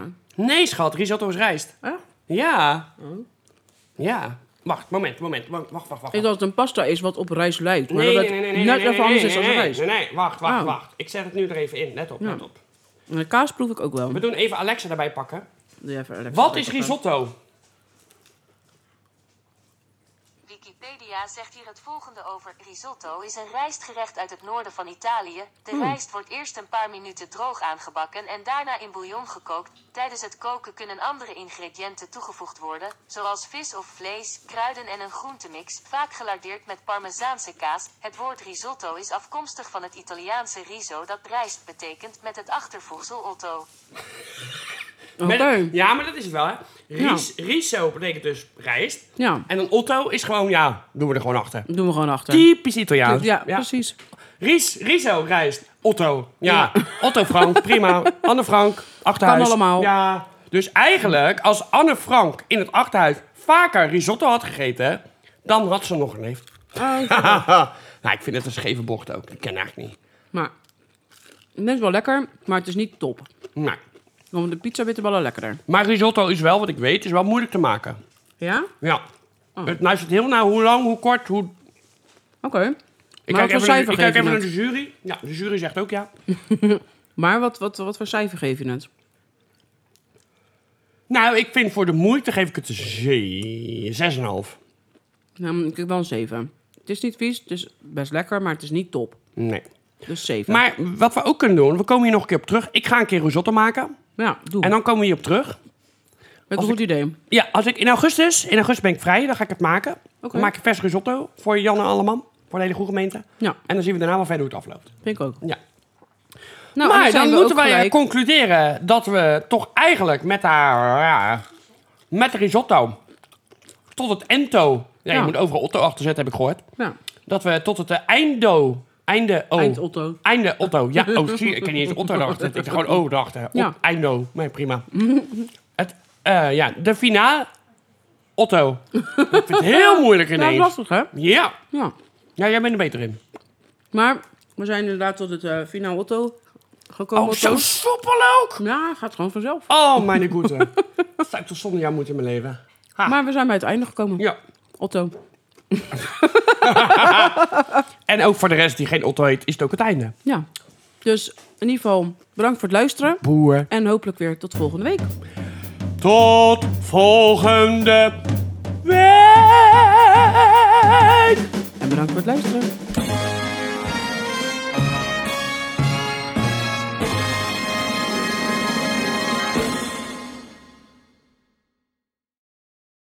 Speaker 2: schat, risotto is rijst.
Speaker 1: Hè?
Speaker 2: Ja. Ja. Wacht, moment, moment. Wacht, wacht, wacht. wacht.
Speaker 1: Oh. Ik dacht dat het een pasta is wat op rijst lijkt. Maar
Speaker 2: Nee,
Speaker 1: dat
Speaker 2: nee,
Speaker 1: het
Speaker 2: nee, nee, nee,
Speaker 1: net
Speaker 2: nee, nee,
Speaker 1: even anders
Speaker 2: nee,
Speaker 1: is dan
Speaker 2: nee,
Speaker 1: rijst.
Speaker 2: Nee, nee, wacht, wacht,
Speaker 1: Oh.
Speaker 2: wacht. Ik zet het nu er even in. Let op, let op.
Speaker 1: En de kaas proef ik ook wel.
Speaker 2: We doen even Alexa erbij pakken.
Speaker 1: Doe jij even Alexa
Speaker 2: Wat
Speaker 1: even
Speaker 2: is
Speaker 1: pakken.
Speaker 2: risotto?
Speaker 3: Wikipedia zegt hier het volgende over. Risotto is een rijstgerecht uit het noorden van Italië. De rijst wordt eerst een paar minuten droog aangebakken en daarna in bouillon gekookt. Tijdens het koken kunnen andere ingrediënten toegevoegd worden, zoals vis of vlees, kruiden en een groentemix, vaak gelardeerd met parmezaanse kaas. Het woord risotto is afkomstig van het Italiaanse riso dat rijst betekent met het achtervoegsel otto.
Speaker 1: Oké,
Speaker 2: Met- Ja, maar dat is het wel, hè? Ris, Riso betekent dus rijst.
Speaker 1: ja.
Speaker 2: En een otto is gewoon, ja, doen we er gewoon achter.
Speaker 1: Doen we gewoon achter.
Speaker 2: Typisch Italiaans.
Speaker 1: ja, precies.
Speaker 2: Ries, Riso, rijst. Otto. Ja. Otto Frank, prima. Anne Frank, achterhuis.
Speaker 1: Kan allemaal.
Speaker 2: Ja. Dus eigenlijk, als Anne Frank in het achterhuis vaker risotto had gegeten, dan had ze nog geleefd. nou, ik vind het een scheve bocht ook. Ik ken eigenlijk niet.
Speaker 1: Maar het is wel lekker, maar het is niet top.
Speaker 2: Nou,
Speaker 1: Dan worden de pizza bitterballen lekkerder.
Speaker 2: maar risotto is wel, wat ik weet, is wel moeilijk te maken.
Speaker 1: Ja?
Speaker 2: Ja. Het luistert heel naar hoe lang, hoe kort, hoe...
Speaker 1: Oké.
Speaker 2: Ik
Speaker 1: Maar wat
Speaker 2: kijk
Speaker 1: voor
Speaker 2: even, naar,
Speaker 1: cijfer
Speaker 2: ik kijk
Speaker 1: geef
Speaker 2: even
Speaker 1: je
Speaker 2: naar
Speaker 1: het?
Speaker 2: de jury. Ja, de jury zegt ook ja.
Speaker 1: Maar wat, wat, wat voor cijfer geef je het?
Speaker 2: Nou, ik vind voor de moeite geef ik het een zee- 6,5.
Speaker 1: Nou, ik heb wel een 7. Het is niet vies, het is best lekker, maar het is niet top.
Speaker 2: Nee.
Speaker 1: Dus 7.
Speaker 2: Maar wat we ook kunnen doen, we komen hier nog een keer op terug. Ik ga een keer risotto maken.
Speaker 1: ja, doe.
Speaker 2: En dan komen we hier op terug.
Speaker 1: Met een
Speaker 2: als
Speaker 1: goed idee.
Speaker 2: Ja, als ik in augustus, in augustus ben ik vrij, dan ga ik het maken. Dan maak ik vers risotto voor Jan en Alleman, voor de hele goede gemeente.
Speaker 1: Ja,
Speaker 2: En dan zien we daarna wel verder hoe het afloopt.
Speaker 1: vind ik ook.
Speaker 2: Ja.
Speaker 1: Nou,
Speaker 2: maar
Speaker 1: zijn
Speaker 2: dan
Speaker 1: we
Speaker 2: moeten
Speaker 1: ook
Speaker 2: wij
Speaker 1: gelijk-
Speaker 2: concluderen dat we toch eigenlijk met haar ja, Met risotto. Tot het ento. Ja,
Speaker 1: Ja.
Speaker 2: je moet overal Otto achter zetten, heb ik gehoord.
Speaker 1: Ja.
Speaker 2: Dat we tot het eh, eindo... Einde oh. O.
Speaker 1: Eind Otto.
Speaker 2: Einde Otto. Ja, oh, zie je, ik kan niet eens Otto erachter zetten. Ik zeg gewoon O erachter.
Speaker 1: Ja.
Speaker 2: Op, eindo. Nee, prima. het, eh, ja, de finale... Otto. ik vind het heel moeilijk
Speaker 1: Ja, dat is
Speaker 2: ineens.
Speaker 1: lastig, hè?
Speaker 2: Ja.
Speaker 1: Ja.
Speaker 2: Ja, jij bent er beter in.
Speaker 1: Maar we zijn inderdaad tot het eh finaal Otto gekomen.
Speaker 2: Oh,
Speaker 1: Otto.
Speaker 2: zo soepel ook!
Speaker 1: Ja, gaat gewoon vanzelf.
Speaker 2: Oh, mijn goede. Dat zou ik toch zonder jou moeten in mijn leven. Ha.
Speaker 1: Maar we zijn bij het einde gekomen.
Speaker 2: Ah. Ja.
Speaker 1: Otto.
Speaker 2: En ook voor de rest die geen Otto heet, is het ook het einde.
Speaker 1: Ja. Dus in ieder geval, bedankt voor het luisteren.
Speaker 2: Boer.
Speaker 1: En hopelijk weer tot volgende week.
Speaker 2: Tot volgende week!
Speaker 1: En bedankt voor het luisteren.